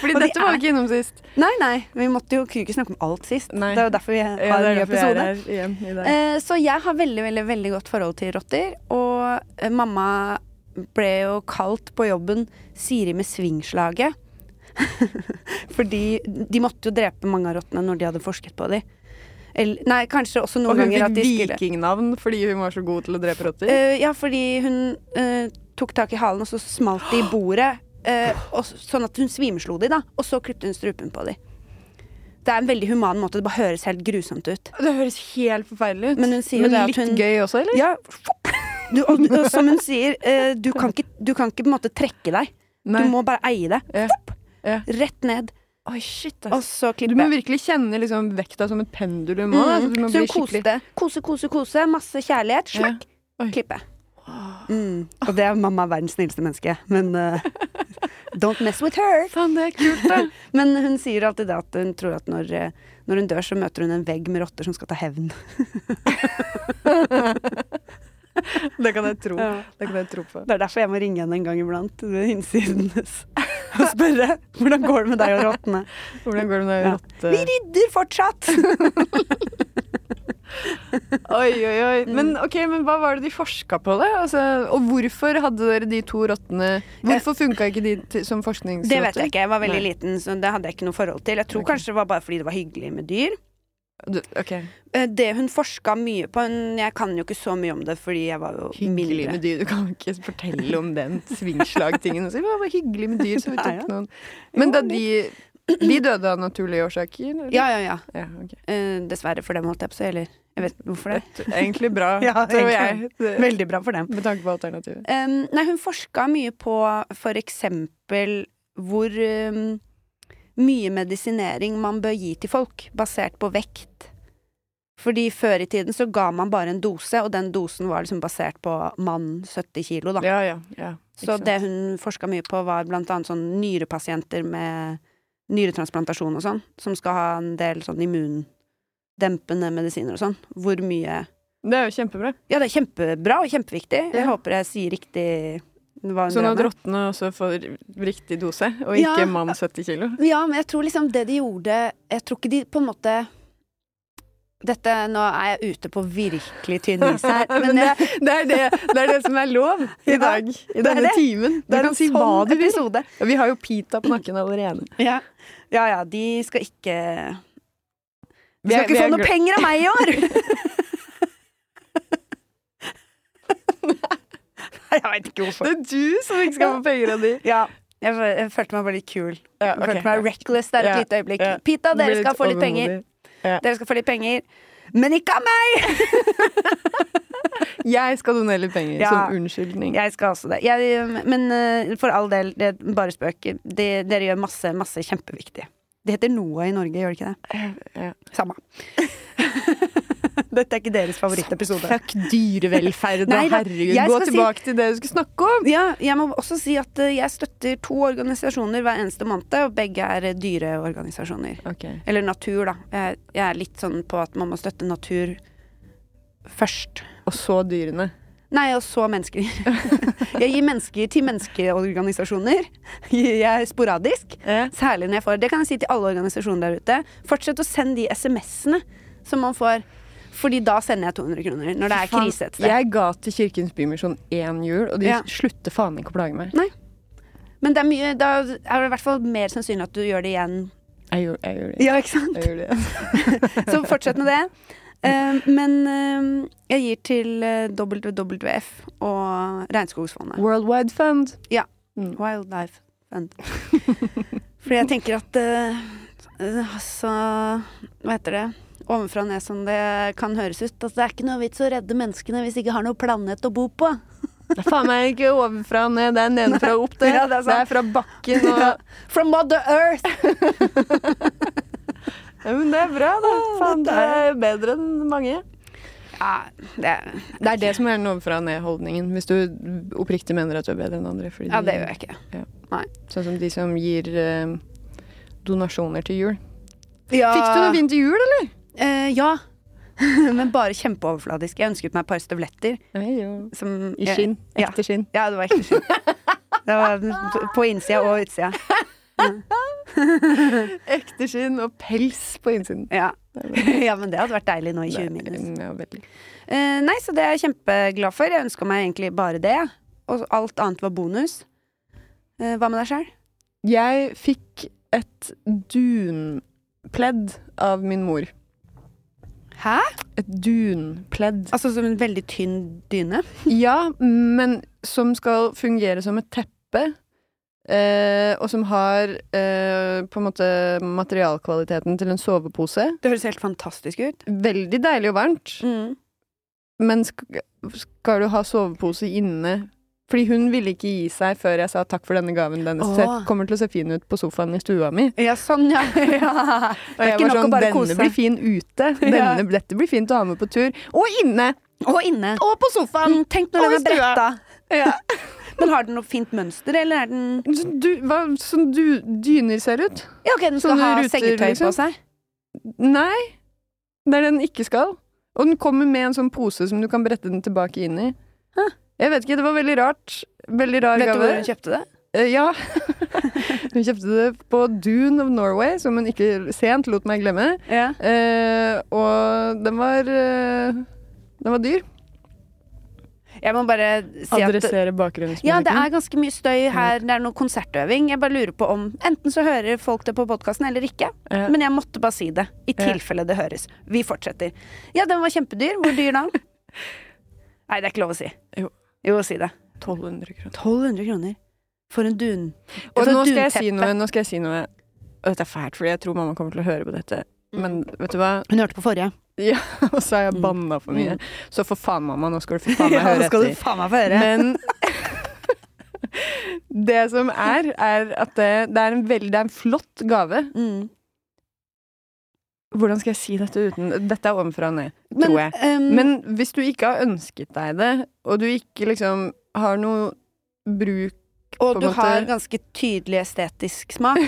Speaker 2: fordi
Speaker 1: Og de
Speaker 2: dette var
Speaker 1: er-
Speaker 2: jo ikke innom sist.
Speaker 1: Nei, nei, vi måtte jo kunne ikke snakke om alt sist.
Speaker 2: Nei.
Speaker 1: Det er jo derfor vi har en ny episode.
Speaker 2: igjen i dag.
Speaker 1: Eh, så jeg har veldig, veldig, veldig godt forhold til rotter. Og eh, mamma ble jo kalt på jobben Siri med svingslaget. [laughs] Fordi de måtte jo drepe mange av rottene når de hadde forsket på dem. Eller, nei, kanskje også
Speaker 2: Og
Speaker 1: noen
Speaker 2: hun
Speaker 1: ganger
Speaker 2: fikk
Speaker 1: at de skulle
Speaker 2: vikingnavn fordi hun var så god til å drepe rotter.
Speaker 1: Eh, Ja, fordi hun eh, tok tak i halen, og så smalt de i bordet. eh, og, s- sånn at hun svimeslo de, da. Og så klippte hun strupen på de. Det er en veldig human måte. Det bare høres helt grusomt ut.
Speaker 2: Det høres helt forferdelig ut.
Speaker 1: Men hun sier jo det at
Speaker 2: litt
Speaker 1: hun-
Speaker 2: gøy også, eller?
Speaker 1: Ja, du, og, og som hun sier, eh, du, kan ikke, du kan ikke på en måte trekke deg.
Speaker 2: Nei.
Speaker 1: Du må bare eie det.
Speaker 2: Ja. Ja.
Speaker 1: Rett ned,
Speaker 2: Oi, shit,
Speaker 1: og
Speaker 2: ass.
Speaker 1: så
Speaker 2: Du
Speaker 1: klippe.
Speaker 2: må virkelig kjenne liksom, vekta som et pendulum òg.
Speaker 1: Mm.
Speaker 2: Du må
Speaker 1: Så
Speaker 2: bli
Speaker 1: hun
Speaker 2: skikkelig
Speaker 1: koste. Kose, kose, kose. Masse kjærlighet.
Speaker 2: Ja.
Speaker 1: Smakk!
Speaker 2: Oi.
Speaker 1: Klippe. Mm. Og det er mamma er verdens snilleste menneske, men eh, Don't mess with her.
Speaker 2: Faen, det er kult, da.
Speaker 1: [laughs] Men hun sier alltid det at hun tror at når, eh, når hun dør, så møter hun en vegg med rotter som skal ta hevn.
Speaker 2: det kan jeg tro.
Speaker 1: Ja.
Speaker 2: Det kan jeg tro på.
Speaker 1: Det er derfor jeg må ringe henne en gang iblant ved innsiden hennes [laughs] og spørre hvordan går det med deg og rottene.
Speaker 2: Hvordan går det med
Speaker 1: Ja.
Speaker 2: rotte...?
Speaker 1: Vi rydder fortsatt!
Speaker 2: Oi, oi, oi.
Speaker 1: Mm.
Speaker 2: Men, ok, men hva var det de forska på, da? Altså, og hvorfor hadde dere de to rottene Hvorfor funka ikke de til, som
Speaker 1: Eh.
Speaker 2: forskningsrotter?
Speaker 1: Det vet jeg ikke. Jeg var veldig
Speaker 2: Nei.
Speaker 1: liten, så det hadde jeg ikke noe forhold til. Jeg tror
Speaker 2: Ok.
Speaker 1: kanskje det var bare fordi det var hyggelig med dyr.
Speaker 2: Du, ok,
Speaker 1: Eh, Det hun forska mye på hun- Jeg kan jo ikke så mye om det, fordi jeg var jo
Speaker 2: Hyggelig
Speaker 1: mindre.
Speaker 2: med dyr. Du kan jo ikke fortelle om den svingslagtingen. Så Det var bare hyggelig med dyr, så vi
Speaker 1: Nei, ja.
Speaker 2: tok noen Men da de De døde av naturlige årsaker? eller?
Speaker 1: Ja, ja, ja.
Speaker 2: ja ok.
Speaker 1: Eh, Dessverre for dem, holdt jeg på å si. Eller jeg vet hvorfor det.
Speaker 2: Det er Egentlig [laughs] bra,
Speaker 1: Ja,
Speaker 2: tror
Speaker 1: egentlig.
Speaker 2: jeg. Det,
Speaker 1: Veldig bra for dem.
Speaker 2: med tanke på alternativet.
Speaker 1: Um, nei, hun forska mye på for eksempel hvor um, mye medisinering man bør gi til folk, basert på vekt. Fordi før i tiden så ga man bare en dose, og den dosen var liksom basert på mann 70 kilo, da.
Speaker 2: Ja, ja. ja. Ikke
Speaker 1: så
Speaker 2: sant.
Speaker 1: det hun forska mye på, var blant annet sånn nyrepasienter med nyretransplantasjon og sånn, som skal ha en del sånn immundempende medisiner og sånn. Hvor mye
Speaker 2: det er jo kjempebra.
Speaker 1: ja, det er kjempebra og kjempeviktig. Jeg
Speaker 2: Ja.
Speaker 1: håper jeg sier riktig hva hun
Speaker 2: Sånn
Speaker 1: drev
Speaker 2: at
Speaker 1: med.
Speaker 2: rottene også får riktig dose, og
Speaker 1: Ja.
Speaker 2: ikke mann 70 kilo.
Speaker 1: Ja, men jeg tror liksom det de gjorde Jeg tror ikke de på en måte Dette, nå er jeg ute på virkelig tynn is [laughs] her, men
Speaker 2: det,
Speaker 1: jeg,
Speaker 2: det, er det, det er det som er lov i
Speaker 1: Ja,
Speaker 2: dag. I
Speaker 1: det er
Speaker 2: denne
Speaker 1: det.
Speaker 2: timen. Du
Speaker 1: det er
Speaker 2: kan
Speaker 1: en
Speaker 2: si
Speaker 1: sånn
Speaker 2: hva du vil.
Speaker 1: episode.
Speaker 2: Ja, Vi har jo Pita på nakken allerede.
Speaker 1: Ja. ja ja, de skal ikke De
Speaker 2: Vi
Speaker 1: skal
Speaker 2: er-
Speaker 1: ikke
Speaker 2: vi
Speaker 1: få
Speaker 2: er
Speaker 1: noe
Speaker 2: glad-
Speaker 1: penger av meg i år! Nei, [laughs] jeg veit ikke hvorfor.
Speaker 2: Det er du som ikke skal få penger av de.
Speaker 1: Ja, jeg, fø- jeg følte meg bare litt kul.
Speaker 2: Ja,
Speaker 1: Jeg
Speaker 2: ok.
Speaker 1: følte meg reckless der et
Speaker 2: Ja,
Speaker 1: lite øyeblikk.
Speaker 2: ja.
Speaker 1: Pita,
Speaker 2: Blir
Speaker 1: dere skal få litt penger.
Speaker 2: overmodig.
Speaker 1: Dere skal få litt penger. Men ikke av meg!
Speaker 2: Jeg skal donere litt penger
Speaker 1: Ja.
Speaker 2: som unnskyldning.
Speaker 1: Jeg skal også det. Jeg, men eh, for all del, det er bare spøk. De, dere gjør masse, masse kjempeviktig. Det heter NOAH i Norge, gjør det ikke det?
Speaker 2: Ja.
Speaker 1: Samme. [laughs] Dette er ikke deres favorittepisode.
Speaker 2: Fuck dyrevelferd og
Speaker 1: Nei da,
Speaker 2: herregud.
Speaker 1: jeg
Speaker 2: Gå
Speaker 1: skal si-
Speaker 2: tilbake til det du skulle snakke om.
Speaker 1: Ja, jeg må også si at eh, jeg støtter to organisasjoner hver eneste måned, og begge er eh, dyreorganisasjoner. Eller natur, da. Jeg, jeg er litt sånn på at man må støtte natur først.
Speaker 2: Og så dyrene.
Speaker 1: Nei, og så mennesker. [laughs] jeg gir mennesker til menneskeorganisasjoner. [laughs] Gir Jeg er sporadisk. Særlig når jeg får Det kan jeg si til alle organisasjoner der ute. Fortsett å sende de SMS-ene som man får. Fordi da sender jeg 200 kroner. Når det er
Speaker 2: Faen,
Speaker 1: krise et sted.
Speaker 2: Jeg ga til Kirkens Bymisjon én jul, og de
Speaker 1: Ja.
Speaker 2: slutter faen ikke å plage meg.
Speaker 1: Men det er mye, da er det i hvert fall mer sannsynlig at du gjør det igjen.
Speaker 2: Jeg gjorde, jeg gjorde det.
Speaker 1: Ja, ikke sant?
Speaker 2: Jeg gjorde det.
Speaker 1: Så fortsett med det. Eh, men eh, jeg gir til eh, WWF og Regnskogsfondet.
Speaker 2: Worldwide Fund.
Speaker 1: Wildlife Fund. [laughs] Fordi jeg tenker at eh, Altså, hva heter det? Ovenfra og ned som det kan høres ut. Altså, det er ikke noe vits å redde menneskene hvis de ikke har noe planet å bo på.
Speaker 2: Det er faen meg ikke ovenfra og ned, det er nedenfra og opp, det.
Speaker 1: [laughs] Ja, det er
Speaker 2: det
Speaker 1: sant.
Speaker 2: er fra bakken og
Speaker 1: Ja. From mother earth!
Speaker 2: ja, Men det er bra, da.
Speaker 1: Ah,
Speaker 2: Faen, det er bedre enn mange.
Speaker 1: Ja, det,
Speaker 2: Det er det som er den ovenfra og ned-holdningen, hvis du oppriktig mener at du er bedre enn andre. Fordi
Speaker 1: ja, det gjør jeg ikke.
Speaker 2: Sånn som de som gir eh, donasjoner til jul.
Speaker 1: Ja.
Speaker 2: Fikk du noe fint til jul, eller?
Speaker 1: Eh, ja. [laughs] Men bare kjempeoverfladisk. Jeg ønsket meg et par støvletter
Speaker 2: Nei, jo.
Speaker 1: som
Speaker 2: I skinn.
Speaker 1: Ja.
Speaker 2: Ekte skinn.
Speaker 1: Ja, det var ekte skinn. Det var på innsida og utsida.
Speaker 2: Ekte skinn og pels på innsiden.
Speaker 1: Ja. ja, men det hadde vært deilig nå i 20 minus.
Speaker 2: mm, Ja, veldig.
Speaker 1: Eh, nei, så det er jeg kjempeglad for. Jeg ønska meg egentlig bare det. Og alt annet var bonus. Eh, hva med deg sjøl?
Speaker 2: Jeg fikk et dunpledd av min mor.
Speaker 1: Hæ?
Speaker 2: Et dunpledd.
Speaker 1: Altså som en veldig tynn dyne?
Speaker 2: Ja, men som skal fungere som et teppe. Eh, og som har eh, på en måte materialkvaliteten til en sovepose.
Speaker 1: Det høres helt fantastisk ut.
Speaker 2: Veldig deilig og varmt,
Speaker 1: Mm.
Speaker 2: men sk skal du ha sovepose inne? Fordi hun ville ikke gi seg før jeg sa takk for denne gaven. Den
Speaker 1: Åh.
Speaker 2: ser- kommer til å se fin ut på sofaen i stua mi.
Speaker 1: Ja, sånn, [laughs] ja. ja.
Speaker 2: Og jeg
Speaker 1: ikke
Speaker 2: var
Speaker 1: nok å
Speaker 2: sånn,
Speaker 1: bare
Speaker 2: denne
Speaker 1: kose seg."
Speaker 2: blir fin ute.
Speaker 1: [laughs] Ja.
Speaker 2: Denne, Dette blir fint å ha med på tur. Og inne!
Speaker 1: Og inne.
Speaker 2: Og på sofaen!
Speaker 1: Mm, tenk når
Speaker 2: Og
Speaker 1: den
Speaker 2: i
Speaker 1: er
Speaker 2: stua.
Speaker 1: bretta. [laughs]
Speaker 2: Ja.
Speaker 1: Men har den noe fint mønster, eller er den
Speaker 2: Så Du, hva, sånn du, dyner ser ut?
Speaker 1: Ja, ok, den skal
Speaker 2: Sånne
Speaker 1: ha
Speaker 2: ruter,
Speaker 1: sengetøy
Speaker 2: liksom.
Speaker 1: på seg.
Speaker 2: Nei. Det er det den ikke skal. Og den kommer med en sånn pose som du kan brette den tilbake inn i.
Speaker 1: Hæ?
Speaker 2: Jeg vet ikke, det var veldig rart. Veldig rar
Speaker 1: Vet du
Speaker 2: gave.
Speaker 1: hvor hun kjøpte det?
Speaker 2: Eh, ja. [laughs] hun kjøpte det på Dune of Norway, som hun ikke sent lot meg glemme.
Speaker 1: Ja.
Speaker 2: Eh, og den var eh, Den var dyr.
Speaker 1: Jeg må bare si at
Speaker 2: Adressere bakgrunnsmusikken.
Speaker 1: ja, det er ganske mye støy her. Det er noe konsertøving. Jeg bare lurer på om Enten så hører folk det på podkasten eller ikke.
Speaker 2: Ja.
Speaker 1: Men jeg måtte bare si det. I
Speaker 2: Ja.
Speaker 1: tilfelle det høres. Vi fortsetter. Ja, den var kjempedyr. Hvor dyr
Speaker 2: [laughs]
Speaker 1: da? Nei, det er ikke lov å si.
Speaker 2: Jo.
Speaker 1: Jo, si det.
Speaker 2: 1200 kroner.
Speaker 1: 1200 kroner for en dun...
Speaker 2: Og
Speaker 1: for et
Speaker 2: nå skal, jeg si
Speaker 1: dunteppe.
Speaker 2: noe, nå skal jeg si noe Og dette er fælt, fordi jeg tror mamma kommer til å høre på dette.
Speaker 1: Mm.
Speaker 2: Men vet du hva?
Speaker 1: Hun hørte på forrige.
Speaker 2: [laughs] Og så har jeg banna for mye. Så for faen, mamma, nå skal du for faen meg
Speaker 1: Mm. [laughs] Ja,
Speaker 2: høre
Speaker 1: nå skal du
Speaker 2: etter.
Speaker 1: faen meg få høre.
Speaker 2: Men [laughs] det som er, er at det, det er en veldig Det er en flott gave.
Speaker 1: Mm.
Speaker 2: Hvordan skal jeg si dette uten Dette er ovenfra og ned,
Speaker 1: Men,
Speaker 2: tror jeg.
Speaker 1: ehm,
Speaker 2: Men hvis du ikke har ønsket deg det, og du ikke liksom har noe bruk på
Speaker 1: og
Speaker 2: en
Speaker 1: du
Speaker 2: måte-
Speaker 1: har ganske tydelig estetisk smak.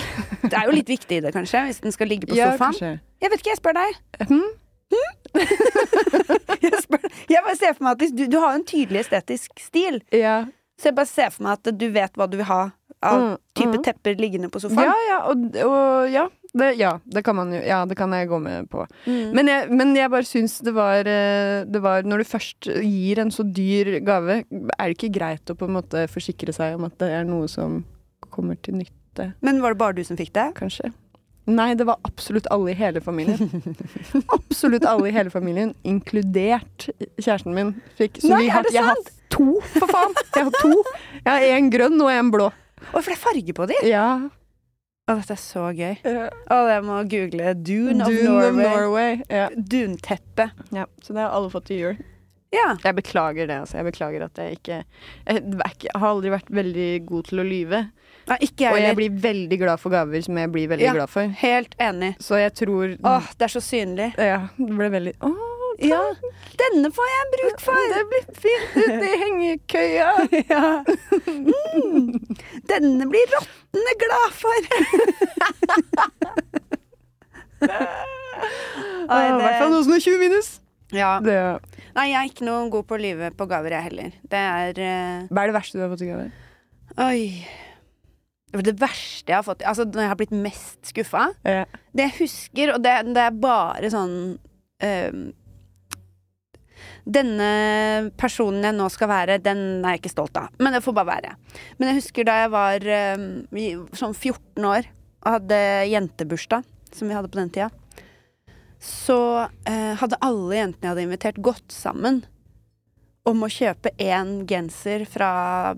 Speaker 1: Det er jo litt viktig i det, kanskje, hvis den skal ligge på sofaen.
Speaker 2: kanskje.
Speaker 1: Jeg vet ikke, jeg spør deg.
Speaker 2: Hm?
Speaker 1: [laughs] Jeg, spør, jeg bare ser for meg at du, du har jo en tydelig estetisk stil,
Speaker 2: Ja.
Speaker 1: så jeg bare ser for meg at du vet hva du vil ha av
Speaker 2: Mm,
Speaker 1: type
Speaker 2: mm.
Speaker 1: tepper liggende på
Speaker 2: ja,
Speaker 1: sofaen.
Speaker 2: ja, og, og ja. Det, ja, det kan man jo. Ja, det kan jeg gå med på.
Speaker 1: Mm.
Speaker 2: Men jeg, men jeg bare syns det var, eh, det var Når du først gir en så dyr gave, er det ikke greit å på en måte forsikre seg om at det er noe som kommer til nytte,
Speaker 1: Men var det bare du som fikk det?
Speaker 2: kanskje? Nei, det var absolutt alle i
Speaker 1: [laughs]
Speaker 2: hele familien. absolutt alle i hele familien, inkludert kjæresten min, fikk. Så
Speaker 1: Nei,
Speaker 2: vi
Speaker 1: er
Speaker 2: har,
Speaker 1: det
Speaker 2: jeg har
Speaker 1: sant?
Speaker 2: to, for faen! Jeg har to. Jeg har én grønn og én blå.
Speaker 1: Å, for det er farge på de!
Speaker 2: Ja.
Speaker 1: Å, dette er så gøy.
Speaker 2: eh,
Speaker 1: Å, jeg må google Dune,
Speaker 2: Dune
Speaker 1: of Norway.
Speaker 2: Ja.
Speaker 1: Dunteppe.
Speaker 2: ja. Så det har alle fått til jul.
Speaker 1: Ja.
Speaker 2: Jeg beklager det, altså. Jeg beklager at jeg ikke Jeg er ikke- har aldri vært veldig god til å lyve.
Speaker 1: Nei, ikke jeg
Speaker 2: Og jeg
Speaker 1: heller.
Speaker 2: blir veldig glad for gaver som jeg blir veldig
Speaker 1: Ja.
Speaker 2: glad for.
Speaker 1: Helt enig.
Speaker 2: Så jeg tror
Speaker 1: Åh, det er så synlig.
Speaker 2: Ja, det ble veldig Å,
Speaker 1: Ja. Denne får jeg bruk for!
Speaker 2: det blir fint ute i [laughs] hengekøya!
Speaker 1: Ja. Mm. Denne blir rottene glad for! [laughs] Nei,
Speaker 2: Ja, I hvert fall
Speaker 1: det,
Speaker 2: noe som er 20 minus.
Speaker 1: ja.
Speaker 2: Det,
Speaker 1: Nei, jeg er ikke noe god på å lyve på gaver, jeg heller. Det er eh,
Speaker 2: hva er det verste du har fått i gave?
Speaker 1: Oi. Det var det verste jeg har fått Altså, når jeg har blitt mest skuffa
Speaker 2: Ja.
Speaker 1: Det jeg husker, og det, det er bare sånn ehm, Denne personen jeg nå skal være, den er jeg ikke stolt av. Men det får bare være. Men jeg husker da jeg var ehm, i- sånn 14 år og hadde jentebursdag, som vi hadde på den tida, så eh, hadde alle jentene jeg hadde invitert, gått sammen om å kjøpe én genser fra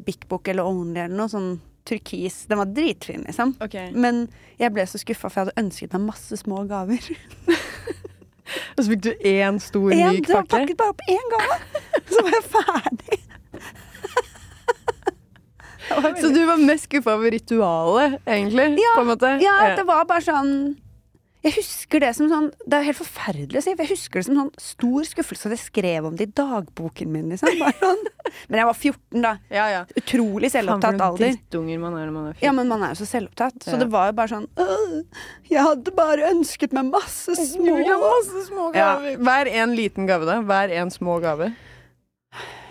Speaker 1: Bik Bok eller Only eller noe sånn turkis. Den var dritfin, liksom. Men jeg ble så skuffa, for jeg hadde ønsket meg masse små gaver.
Speaker 2: Og så fikk du én stor,
Speaker 1: En,
Speaker 2: myk
Speaker 1: det var
Speaker 2: pakke.
Speaker 1: pakket bare opp én gave! [laughs] Så var jeg ferdig. Det var
Speaker 2: Så
Speaker 1: veldig-
Speaker 2: du var mest skuffa over ritualet, egentlig?
Speaker 1: Ja,
Speaker 2: på en måte?
Speaker 1: Ja, det var bare sånn Jeg husker det som sånn Det er helt forferdelig å si, for jeg husker det som sånn stor skuffelse. at Jeg skrev om det i dagboken min, liksom. Bare sånn. [laughs] Men jeg var 14, da.
Speaker 2: ja, ja.
Speaker 1: Utrolig
Speaker 2: Faen, for
Speaker 1: selvopptatt
Speaker 2: noen
Speaker 1: alder.
Speaker 2: Drittunger man er når man er
Speaker 1: Ja, men man er jo så selvopptatt. Så
Speaker 2: Ja.
Speaker 1: det var jo bare sånn «Åh, Jeg hadde bare ønsket meg masse små
Speaker 2: masse små
Speaker 1: gaver.
Speaker 2: Hver en liten gave, da. Hver en små gave.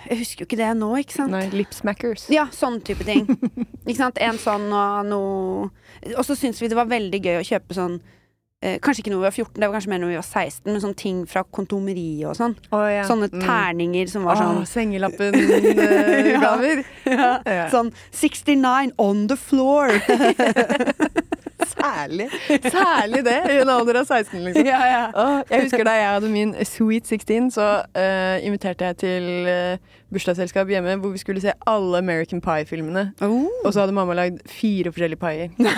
Speaker 1: Jeg husker jo ikke det nå, ikke sant?
Speaker 2: Nei, lipsmackers.
Speaker 1: Ja, sånn type
Speaker 2: [laughs]
Speaker 1: ting. ikke sant? En sånn og noe Og så syns vi det var veldig gøy å kjøpe sånn eh, Kanskje ikke når vi var 14, det var kanskje mer når vi var 16, men sånne ting fra kondomeriet og sånn. Sånne
Speaker 2: Mm.
Speaker 1: terninger som
Speaker 2: Ah,
Speaker 1: var sånn [laughs]
Speaker 2: eh,
Speaker 1: Ja.
Speaker 2: Sengelappen-gaver.
Speaker 1: Ja.
Speaker 2: Ja.
Speaker 1: Sånn 69 on the floor!
Speaker 2: [laughs] Særlig. Særlig det, i en alder av 16,
Speaker 1: [laughs]
Speaker 2: liksom.
Speaker 1: ja, ja.
Speaker 2: Åh, jeg husker da jeg hadde min Sweet 16, så eh, inviterte jeg til eh, bursdagsselskap hjemme hvor vi skulle se alle American Pie-filmene. Og så hadde mamma lagd fire forskjellige paier.
Speaker 1: Nei,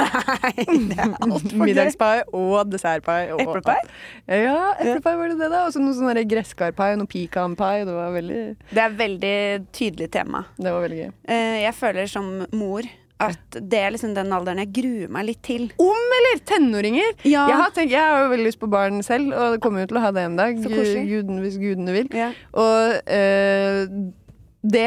Speaker 1: det er altfor gøy.
Speaker 2: Middagspai og dessertpai. og-
Speaker 1: Eplepai?
Speaker 2: Ja, eplepai var det det, da. Og så noe sånn derre gresskarpai og noe pecanpai. Det var veldig,
Speaker 1: Det er veldig tydelig tema.
Speaker 2: det var veldig gøy.
Speaker 1: Eh, Jeg føler som mor at det er liksom den alderen jeg gruer meg litt til.
Speaker 2: Om eller tenåringer!
Speaker 1: Ja.
Speaker 2: Jeg, har tenkt, jeg har jo veldig lyst på barn selv, og det kommer jo til å ha det en dag.
Speaker 1: Så koselig.
Speaker 2: Guden, hvis gudene vil.
Speaker 1: Ja.
Speaker 2: Og eh, det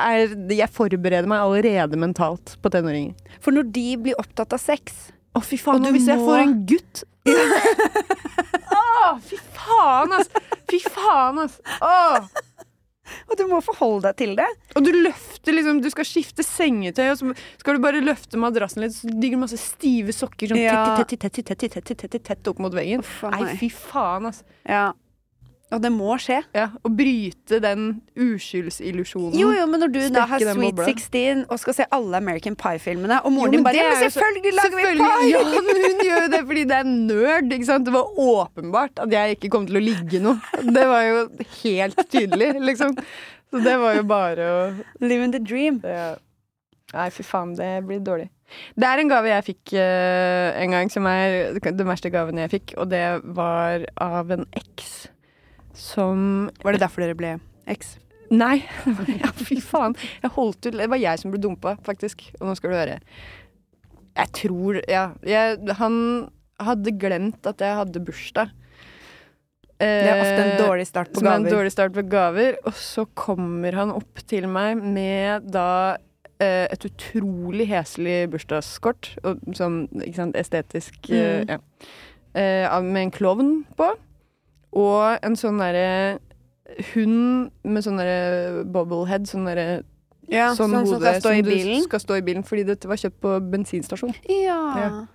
Speaker 2: er Jeg forbereder meg allerede mentalt på tenåringer.
Speaker 1: For når de blir opptatt av sex
Speaker 2: Å, fy faen,
Speaker 1: Og du
Speaker 2: og hvis jeg
Speaker 1: må-
Speaker 2: får en gutt [laughs] Å, fy faen, ass! Fy faen, ass! Å.
Speaker 1: Og du må forholde deg til det.
Speaker 2: Og du løfter liksom Du skal skifte sengetøy, og så skal du bare løfte madrassen litt, så ligger det masse stive sokker sånn
Speaker 1: Ja.
Speaker 2: tett, tett, tett, tett, tett, tett, tett, tett, tett opp mot veggen.
Speaker 1: Faen
Speaker 2: Nei,
Speaker 1: meg.
Speaker 2: fy faen, ass.
Speaker 1: Ja. Og det må skje.
Speaker 2: Ja, Å bryte den uskyldsillusjonen.
Speaker 1: Jo, jo, men når du da
Speaker 2: Sprekke
Speaker 1: har
Speaker 2: den
Speaker 1: Sweet
Speaker 2: bobla.
Speaker 1: 16 og skal se alle American Pie-filmene, og
Speaker 2: Jo,
Speaker 1: moren din
Speaker 2: men
Speaker 1: bare
Speaker 2: det
Speaker 1: Ja,
Speaker 2: er
Speaker 1: men
Speaker 2: jo så-
Speaker 1: selvfølgelig lager vi
Speaker 2: Selvfølgelig-
Speaker 1: pie!
Speaker 2: Ja, men hun gjør jo det fordi det er nerd. ikke sant? Det var åpenbart at jeg ikke kom til å ligge noe. Det var jo helt tydelig, liksom. Så det var jo bare å
Speaker 1: Living the dream.
Speaker 2: ja. Nei, fy faen, det blir dårlig. Det er en gave jeg fikk eh, en gang som er den verste gaven jeg fikk, og det var av en eks som
Speaker 1: Var det derfor dere ble X?
Speaker 2: Nei. [laughs] Ja, fy faen. Jeg holdt ut. Det var jeg som ble dumpa, faktisk. Og nå skal du høre. Jeg tror Ja. Jeg, han hadde glemt at jeg hadde bursdag. Eh,
Speaker 1: Det er ofte Eh, en dårlig start på
Speaker 2: Som er en
Speaker 1: gaver.
Speaker 2: dårlig start på gaver. Og så kommer han opp til meg med da eh, et utrolig heslig bursdagskort. Og, sånn ikke sant, estetisk eh,
Speaker 1: Mm.
Speaker 2: ja. Eh, av- Med en klovn på. Og en sånn derre hund med sånn derre bobblehead. Sånn derre
Speaker 1: Ja,
Speaker 2: sånn
Speaker 1: sånn som
Speaker 2: hode
Speaker 1: skal stå i
Speaker 2: du
Speaker 1: bilen.
Speaker 2: skal stå i bilen. Fordi dette var kjøpt på
Speaker 1: [laughs]
Speaker 2: bensinstasjon.
Speaker 1: Ja.
Speaker 2: Ja.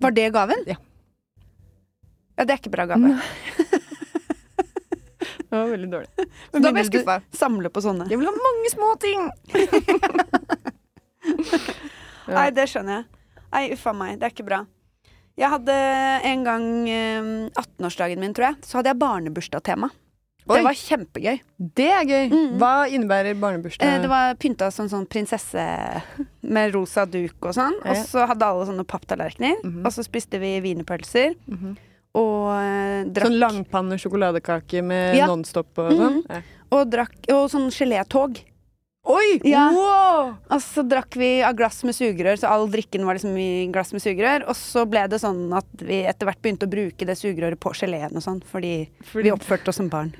Speaker 1: Var det gaven?
Speaker 2: Ja.
Speaker 1: Ja, det er ikke bra gave.
Speaker 2: Det var veldig [laughs] dårlig.
Speaker 1: Så da ble jeg
Speaker 2: Mindre du-
Speaker 1: skuffa. Samle på sånne.
Speaker 2: Jeg vil ha mange små ting! Ja.
Speaker 1: Nei, det skjønner jeg. Nei, uffa meg. Det er ikke bra. Jeg hadde en gang eh, 18-årsdagen min, tror jeg, så hadde jeg barnebursdagstema.
Speaker 2: Oi.
Speaker 1: Det var kjempegøy.
Speaker 2: Det er gøy!
Speaker 1: Mm.
Speaker 2: Hva innebærer barnebursdag?
Speaker 1: Eh, det var pynta som sånn prinsesse med rosa duk og sånn.
Speaker 2: Ja.
Speaker 1: Og så hadde alle sånne papptallerkener.
Speaker 2: Mhm.
Speaker 1: Og så spiste vi wienerpølser
Speaker 2: Mhm.
Speaker 1: og eh, drakk
Speaker 2: Sånn langpanne sjokoladekake med
Speaker 1: Ja. Mhm.
Speaker 2: Nonstop og sånn? Ja.
Speaker 1: Og, drakk, og sånn gelétog.
Speaker 2: Oi!
Speaker 1: Ja.
Speaker 2: Wow!
Speaker 1: Og så drakk vi av glass med sugerør, så all drikken var liksom i glass med sugerør. Og så ble det sånn at vi etter hvert begynte å bruke det sugerøret på geleen og sånn, fordi vi oppførte oss som barn.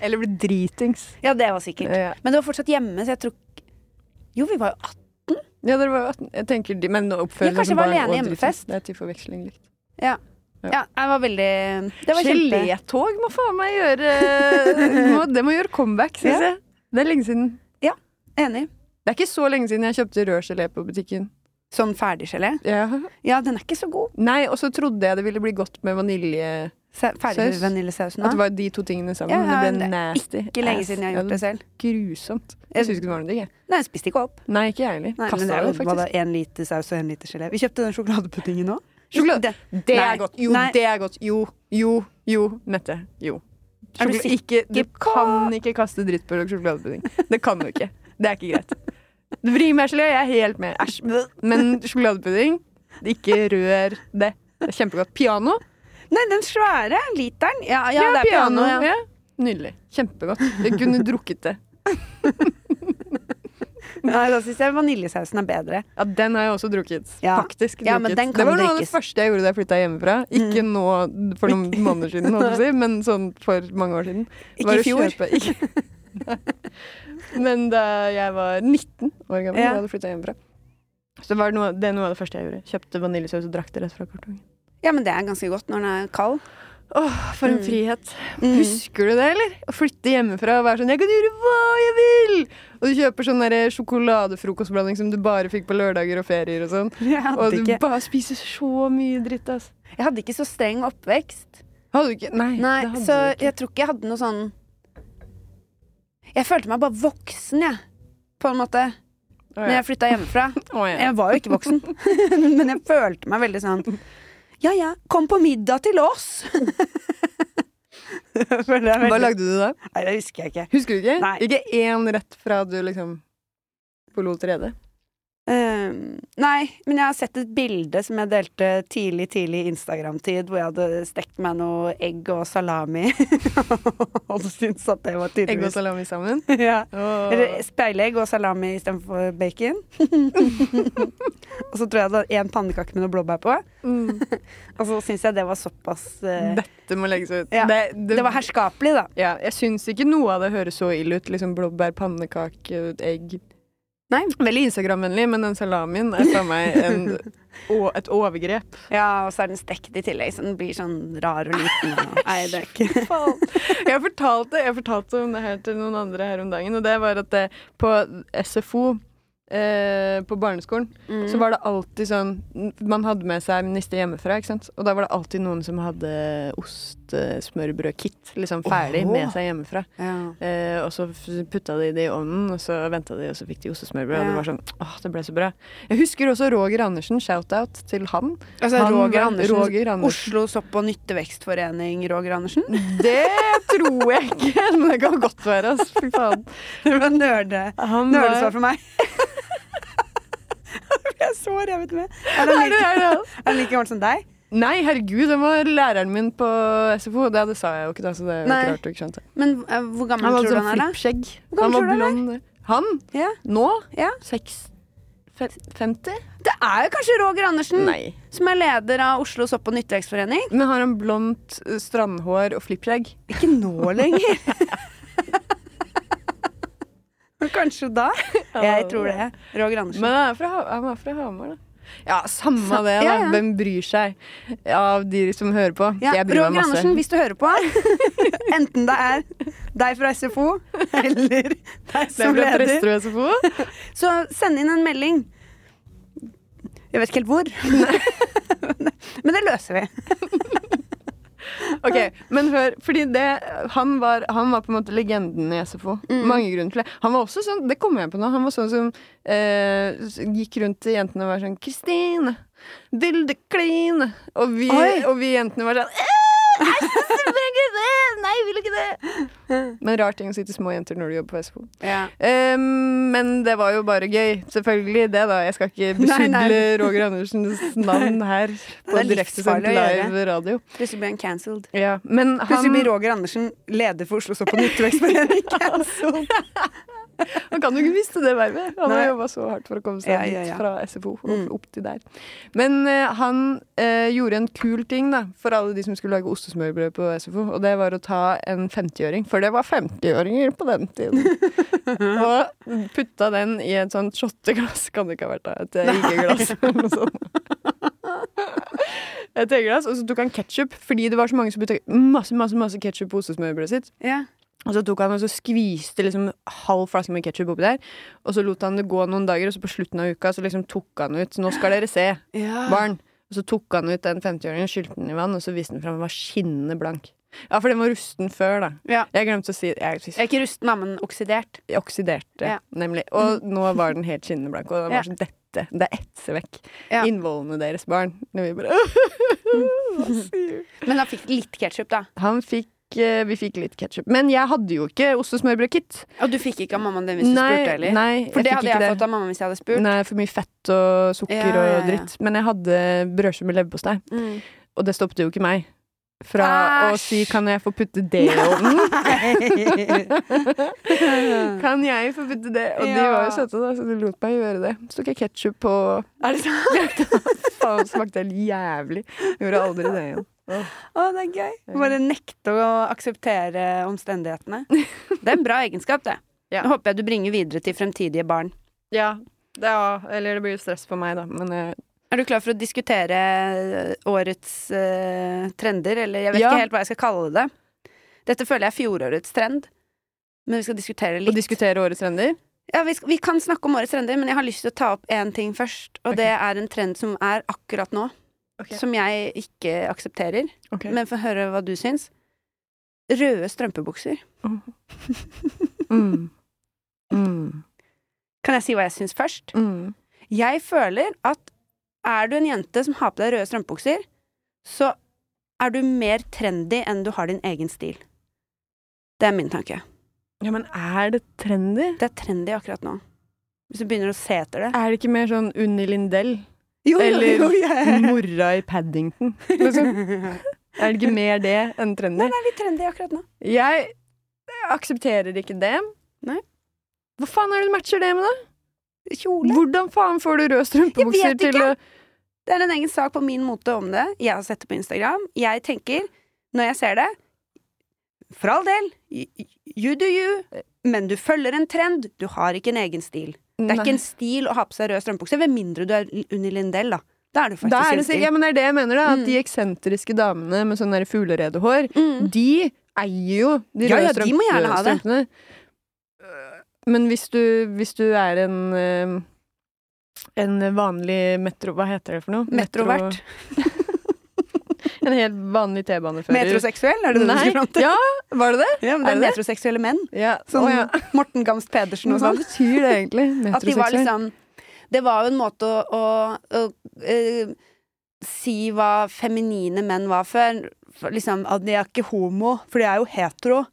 Speaker 2: Eller blir dritings.
Speaker 1: Ja, det var sikkert.
Speaker 2: Ja.
Speaker 1: Men det var fortsatt hjemme, så jeg tror ikke- Jo, vi var jo 18.
Speaker 2: Ja, dere var 18. Jeg tenker de, men
Speaker 1: Ja,
Speaker 2: oppfører
Speaker 1: kanskje
Speaker 2: seg som
Speaker 1: var
Speaker 2: barn
Speaker 1: alene
Speaker 2: og
Speaker 1: hjemmefest.
Speaker 2: dritings. Det er til forveksling likt.
Speaker 1: Ja.
Speaker 2: Ja.
Speaker 1: ja. Jeg var veldig Det var kjempe...
Speaker 2: Gelétog må faen meg gjøre må, Det må gjøre [laughs] comeback, syns
Speaker 1: Ja.
Speaker 2: jeg. Det er lenge siden.
Speaker 1: Enig.
Speaker 2: Det er ikke så lenge siden jeg kjøpte rød gelé på butikken.
Speaker 1: Sånn ferdiggelé.
Speaker 2: Ja.
Speaker 1: Ja, den er ikke så god.
Speaker 2: Nei, og så trodde jeg det ville bli godt med vanilje
Speaker 1: Se- Ferdig
Speaker 2: Saus.
Speaker 1: vaniljesausen.
Speaker 2: At det
Speaker 1: da.
Speaker 2: var de to tingene sammen.
Speaker 1: Ja, ja,
Speaker 2: men
Speaker 1: det
Speaker 2: det ble
Speaker 1: er
Speaker 2: nasty.
Speaker 1: Ikke lenge siden jeg har gjort det
Speaker 2: ass.
Speaker 1: selv.
Speaker 2: Ja, Grusomt.
Speaker 1: Jeg-
Speaker 2: Jeg syns ikke det var noe digg, jeg.
Speaker 1: Nei, jeg spiste ikke opp.
Speaker 2: Nei, ikke jeg heller.
Speaker 1: Nei,
Speaker 2: Kasta
Speaker 1: men det
Speaker 2: det,
Speaker 1: er jo
Speaker 2: faktisk.
Speaker 1: bare én liter saus og én liter gelé. Vi kjøpte den sjokoladepuddingen [laughs] nå.
Speaker 2: Sjokolade-
Speaker 1: Den-
Speaker 2: Det
Speaker 1: Nei.
Speaker 2: er godt. Jo,
Speaker 1: Nei.
Speaker 2: det er godt. Jo, jo, jo. Mette. Jo.
Speaker 1: Er du
Speaker 2: Sjokolade-
Speaker 1: sikker
Speaker 2: ikke, du
Speaker 1: på-
Speaker 2: kan ikke kaste dritt på sjokoladepudding. Det kan du ikke. Det er ikke greit. Vrimesle, jeg er helt med. Æsj. Men sjokoladepudding, ikke rør det. Det er kjempegodt. Piano?
Speaker 1: Nei, den svære literen. Ja, ja, det er piano. ja.
Speaker 2: Ja. Nydelig. Kjempegodt. Jeg kunne drukket det.
Speaker 1: Nei, da syns jeg vaniljesausen er bedre.
Speaker 2: Ja, den har jeg også drukket.
Speaker 1: Ja.
Speaker 2: Faktisk drukket.
Speaker 1: Ja, men den kan
Speaker 2: det var noe av det
Speaker 1: drikkes. Mm.
Speaker 2: første jeg gjorde da jeg flytta hjemmefra. Ikke nå for noen måneder siden, holdt jeg på å si, men sånn for mange år siden.
Speaker 1: Ikke i
Speaker 2: Var å
Speaker 1: fjor.
Speaker 2: kjøpe- Ikke. [laughs] men da jeg var 19 år gammel,
Speaker 1: Ja.
Speaker 2: da jeg flytta hjemmefra, så var det, noe, det er noe av det første jeg gjorde. Kjøpte vaniljesaus og drakk det rett fra kartongen.
Speaker 1: Ja, men det er ganske godt når den er kald.
Speaker 2: Åh, for en
Speaker 1: Mm.
Speaker 2: frihet.
Speaker 1: Mm.
Speaker 2: Husker du det, eller? Å flytte hjemmefra og være sånn 'jeg kan gjøre hva jeg vil'! Og du kjøper sånn der sjokoladefrokostblanding som du bare fikk på lørdager og ferier og sånn.
Speaker 1: [laughs] Jeg
Speaker 2: Og
Speaker 1: hadde,
Speaker 2: du
Speaker 1: ikke,
Speaker 2: bare spiser så mye dritt, ass.
Speaker 1: jeg hadde ikke så streng oppvekst.
Speaker 2: Hadde du ikke? Nei.
Speaker 1: Nei,
Speaker 2: det hadde
Speaker 1: så
Speaker 2: du ikke.
Speaker 1: jeg tror ikke jeg hadde noe sånn Jeg følte meg bare voksen, jeg. På en måte.
Speaker 2: Å,
Speaker 1: Når
Speaker 2: ja.
Speaker 1: jeg flytta hjemmefra.
Speaker 2: Å, [laughs] ja.
Speaker 1: Jeg var jo ikke voksen, [laughs] men jeg følte meg veldig sånn Ja ja, kom på middag til oss! [laughs] Jeg føler jeg
Speaker 2: Hva
Speaker 1: veldig-
Speaker 2: lagde du da?
Speaker 1: Nei, det husker jeg ikke.
Speaker 2: Husker du ikke?
Speaker 1: Nei.
Speaker 2: Ikke én rett fra du liksom forlot redet?
Speaker 1: Ehm, nei, men jeg har sett et bilde som jeg delte tidlig, tidlig Instagram-tid, hvor jeg hadde stekt meg noe egg og salami. [laughs] og syntes at det var
Speaker 2: Egg og
Speaker 1: tydeligvis
Speaker 2: salami sammen?
Speaker 1: ja.
Speaker 2: Åh.
Speaker 1: Eller speilegg og salami istedenfor bacon. [laughs] og så tror jeg jeg hadde én pannekake med noe blåbær på.
Speaker 2: Mm.
Speaker 1: Og så syns jeg det var såpass eh,
Speaker 2: Dette må legges ut.
Speaker 1: Ja,
Speaker 2: Det, det-
Speaker 1: Det var herskapelig, da.
Speaker 2: ja, jeg syns ikke noe av det høres så ille ut. Liksom Blåbær, pannekake, egg.
Speaker 1: Nei.
Speaker 2: Veldig Instagram-vennlig, men den salamien er for meg en, [laughs] å, et overgrep.
Speaker 1: Ja, og så er den stekt i tillegg, så den blir sånn rar og liten.
Speaker 2: [laughs]
Speaker 1: Og... Nei, det er ikke
Speaker 2: Jeg fortalte, jeg fortalte om det her til noen andre her om dagen, og det var at det, på SFO eh, på barneskolen
Speaker 1: Mm.
Speaker 2: så var det alltid sånn Man hadde med seg niste hjemmefra, ikke sant? og da var det alltid noen som hadde ostesmørbrødkit liksom ferdig
Speaker 1: Åhå.
Speaker 2: med seg hjemmefra.
Speaker 1: ja.
Speaker 2: Eh, og så f- putta de det i ovnen, og så venta de, og så fikk de ostesmørbrød. Og
Speaker 1: Ja.
Speaker 2: det var sånn Åh, det ble så bra. Jeg husker også Roger Andersen. Shout-out til han.
Speaker 1: [laughs] Altså,
Speaker 2: han
Speaker 1: Roger
Speaker 2: var-
Speaker 1: Andersen,
Speaker 2: Roger Andersen.
Speaker 1: Oslo Sopp- og Nyttevekstforening, Roger Andersen. [laughs]
Speaker 2: Det tror jeg ikke, [laughs] men det kan godt være, ass. Fy faen.
Speaker 1: Det var nerde.
Speaker 2: Han
Speaker 1: Nerdesvar
Speaker 2: var
Speaker 1: for
Speaker 2: [laughs]
Speaker 1: meg. Jeg ble så revet med. Er han
Speaker 2: er det,
Speaker 1: like,
Speaker 2: er det han?
Speaker 1: er han like gammel som deg?
Speaker 2: Nei, herregud, han var læreren min på SFO. Det, det sa jeg jo ikke, da, så det er jo
Speaker 1: Nei.
Speaker 2: ikke rart du ikke skjønte.
Speaker 1: Men eh, hvor gammel
Speaker 2: Han hadde
Speaker 1: tror du
Speaker 2: sånn
Speaker 1: han er, da?
Speaker 2: flippskjegg.
Speaker 1: Hvor
Speaker 2: Han
Speaker 1: gammel
Speaker 2: var
Speaker 1: tror du han
Speaker 2: blond. Han?
Speaker 1: Ja.
Speaker 2: Nå?
Speaker 1: Ja.
Speaker 2: Seks... fe- 50?
Speaker 1: Det er jo kanskje Roger Andersen,
Speaker 2: Nei.
Speaker 1: som er leder av Oslo Sopp- og Nyttevekstforening.
Speaker 2: Men har han blondt eh, strandhår og flippskjegg?
Speaker 1: Ikke nå lenger. [laughs] Men kanskje da. Jeg tror det. Roger Andersen.
Speaker 2: Men han er fra, Ha- han er fra Hamar, da. Ja, samme
Speaker 1: Sa-
Speaker 2: det, da.
Speaker 1: ja, ja.
Speaker 2: Hvem bryr seg? Av de som hører på.
Speaker 1: Ja,
Speaker 2: jeg bryr
Speaker 1: Roger
Speaker 2: meg masse.
Speaker 1: Andersen, hvis du hører på, [laughs] enten det er deg fra SFO eller deg
Speaker 2: det
Speaker 1: som
Speaker 2: ble
Speaker 1: leder,
Speaker 2: Presterød SFO.
Speaker 1: så send inn en melding. Jeg vet ikke helt hvor. [laughs] Men det løser vi.
Speaker 2: Ok, men hør, fordi det, han, var, han var på en måte legenden i SFO.
Speaker 1: Mm.
Speaker 2: Mange grunner til det. Han var også sånn, det kommer jeg på nå, han var sånn som eh, s- gikk rundt til jentene og var sånn 'Kristine, vil du kline?' Og vi,
Speaker 1: Oi.
Speaker 2: og vi jentene var sånn «Eh, nei, jeg vil ikke det! Nei, jeg vil ikke det!
Speaker 1: [laughs]
Speaker 2: Men rar ting å si til små jenter når du jobber på SFO. Eh, men det var jo bare gøy. Selvfølgelig det, da. Jeg skal ikke
Speaker 1: [laughs] Nei, nei.
Speaker 2: besudle Roger Andersens navn her på
Speaker 1: er
Speaker 2: direktesendt
Speaker 1: livsfarlig å gjøre.
Speaker 2: live radio.
Speaker 1: Plutselig blir han cancelled.
Speaker 2: Ja, men
Speaker 1: Plutselig
Speaker 2: han
Speaker 1: blir Roger Andersen leder for Oslo Sopp- og Nyttevekstforening [laughs] cancelled.
Speaker 2: [laughs] Han kan jo ikke miste det vervet. Han
Speaker 1: Nei.
Speaker 2: har jobba så hardt for å komme seg
Speaker 1: Ja, ja,
Speaker 2: dit
Speaker 1: ja.
Speaker 2: fra SFO og
Speaker 1: Mm.
Speaker 2: opp til der. Men eh, han eh, gjorde en kul ting da, for alle de som skulle lage ostesmørbrød på SFO, og det var å ta en 50-åring, for det var 50-åringer på den
Speaker 1: [laughs]
Speaker 2: tiden, og putta den i et sånt shotteglass, kan det ikke ha vært da, et eh, riggeglass eller noe sånt. Et teglass, og så tok han ketsjup, fordi det var så mange som putta masse, masse, masse ketsjup på ostesmørbrødet sitt.
Speaker 1: Ja.
Speaker 2: Og så tok han og så skviste liksom halv flaske med ketsjup oppi der. Og så lot han det gå noen dager, og så på slutten av uka så liksom tok han ut Nå skal dere se, barn. Og så tok han ut den 50-åringen, skylte den i vann, og så viste den fram. Den var skinnende blank. Ja, for den var rusten før, da.
Speaker 1: Ja.
Speaker 2: Jeg glemte å si Jeg,
Speaker 1: Jeg er ikke rusten, da, men oksidert.
Speaker 2: jeg oksiderte,
Speaker 1: Ja.
Speaker 2: nemlig. Og nå var den helt skinnende blank. Og den
Speaker 1: Ja.
Speaker 2: var sånn dette. Det er etse vekk.
Speaker 1: Ja.
Speaker 2: Innvollene deres barn.
Speaker 1: [laughs]
Speaker 2: Og vi bare Hva sier du?
Speaker 1: Men han fikk litt ketsjup, da.
Speaker 2: Han fikk eh, Vi fikk litt ketsjup. Men jeg hadde jo ikke ostesmørbrødkit.
Speaker 1: Og du fikk ikke av mammaen din hvis du spurte heller?
Speaker 2: nei,
Speaker 1: For det
Speaker 2: fikk
Speaker 1: hadde
Speaker 2: ikke
Speaker 1: jeg fått av mamma hvis jeg hadde spurt.
Speaker 2: Nei, for mye fett og sukker
Speaker 1: Ja, ja, ja.
Speaker 2: og dritt. Men jeg hadde brødskive med leverpostei, [laughs]
Speaker 1: Mm.
Speaker 2: og det stoppet jo ikke meg. Fra å si
Speaker 1: Æsj!
Speaker 2: 'kan jeg få putte det
Speaker 1: [laughs]
Speaker 2: i ovnen'?
Speaker 1: er
Speaker 2: Kan jeg få putte det? Og de
Speaker 1: Ja.
Speaker 2: var jo søte, da, så de lot meg gjøre det. Så tok jeg ketsjup på [laughs]
Speaker 1: det sant?
Speaker 2: Faen, smakte helt jævlig. Gjorde aldri det igjen.
Speaker 1: Å, det er gøy. Bare nekte å akseptere omstendighetene. Det er en bra egenskap, det.
Speaker 2: Ja.
Speaker 1: Det håper jeg du bringer videre til fremtidige barn.
Speaker 2: Ja, det, ja, eller det blir jo stress for meg, da, men jeg
Speaker 1: Er du klar for eh, å diskutere eh, årets eh, trender, eller jeg vet
Speaker 2: Ja.
Speaker 1: ikke helt hva jeg skal kalle det. Dette føler jeg er fjorårets trend, men vi skal diskutere
Speaker 2: Å
Speaker 1: litt.
Speaker 2: diskutere årets trender?
Speaker 1: Ja, vi, skal, vi kan snakke om årets trender, men jeg har lyst til å ta opp én ting først. Og
Speaker 2: Ok.
Speaker 1: det er en trend som er akkurat nå,
Speaker 2: Ok.
Speaker 1: som jeg ikke aksepterer. Men få høre hva du syns. Røde strømpebukser.
Speaker 2: Mm. Mm.
Speaker 1: Kan jeg si hva jeg syns først?
Speaker 2: Mm.
Speaker 1: Jeg føler at er du en jente som har på deg røde strømpebukser, så er du mer trendy enn du har din egen stil. Det er min tanke.
Speaker 2: Ja, men er det trendy?
Speaker 1: Det er trendy akkurat nå. Hvis du begynner å se etter det.
Speaker 2: Er det ikke mer sånn Unni Lindell?
Speaker 1: Jo,
Speaker 2: Eller-
Speaker 1: jeg- [laughs]
Speaker 2: Mora i Paddington? Liksom. Er det ikke mer det enn trendy?
Speaker 1: Den er litt trendy akkurat nå.
Speaker 2: Jeg aksepterer ikke det.
Speaker 1: Nei.
Speaker 2: Hva faen er det du matcher det med, da?
Speaker 1: Kjole.
Speaker 2: Hvordan faen får du røde strømpebukser
Speaker 1: Jeg vet
Speaker 2: til å
Speaker 1: Det er en egen sak på min mote om det. Jeg har sett det på Instagram. Jeg tenker, når jeg ser det For all del, y- you do you, men du følger en trend. Du har ikke en egen stil. Det er ikke en stil å ha på seg rød strømpebukse, med mindre du er Unni Lindell, da. Da er du faktisk
Speaker 2: Da er
Speaker 1: en
Speaker 2: det,
Speaker 1: stil.
Speaker 2: sikkert- ja, men det er det jeg mener, da. At
Speaker 1: Mm.
Speaker 2: de eksentriske damene med sånn der fugleredehår,
Speaker 1: Mm.
Speaker 2: de eier jo de
Speaker 1: Ja,
Speaker 2: røde
Speaker 1: ja, de
Speaker 2: strøm-
Speaker 1: må gjerne
Speaker 2: røde
Speaker 1: ha det.
Speaker 2: strømpene. Øh, Men hvis du, hvis du er en øh, en vanlig metro... Hva heter det for noe?
Speaker 1: Metrovert.
Speaker 2: Metro- En helt vanlig T-banefører.
Speaker 1: Metroseksuell, er det det du
Speaker 2: Nei.
Speaker 1: skulle fram til?
Speaker 2: Ja, var det det?
Speaker 1: Ja, men det
Speaker 2: Er
Speaker 1: er
Speaker 2: det det?
Speaker 1: metroseksuelle menn.
Speaker 2: Ja.
Speaker 1: Sånn
Speaker 2: Å, ja.
Speaker 1: Morten Gamst Pedersen og
Speaker 2: Hva
Speaker 1: sånn.
Speaker 2: betyr det egentlig?
Speaker 1: [laughs] At de var
Speaker 2: Metroseksuell?
Speaker 1: liksom Det var jo en måte å, å, å eh, si hva feminine menn var før. For Liksom at de er ikke homo, for de er jo hetero,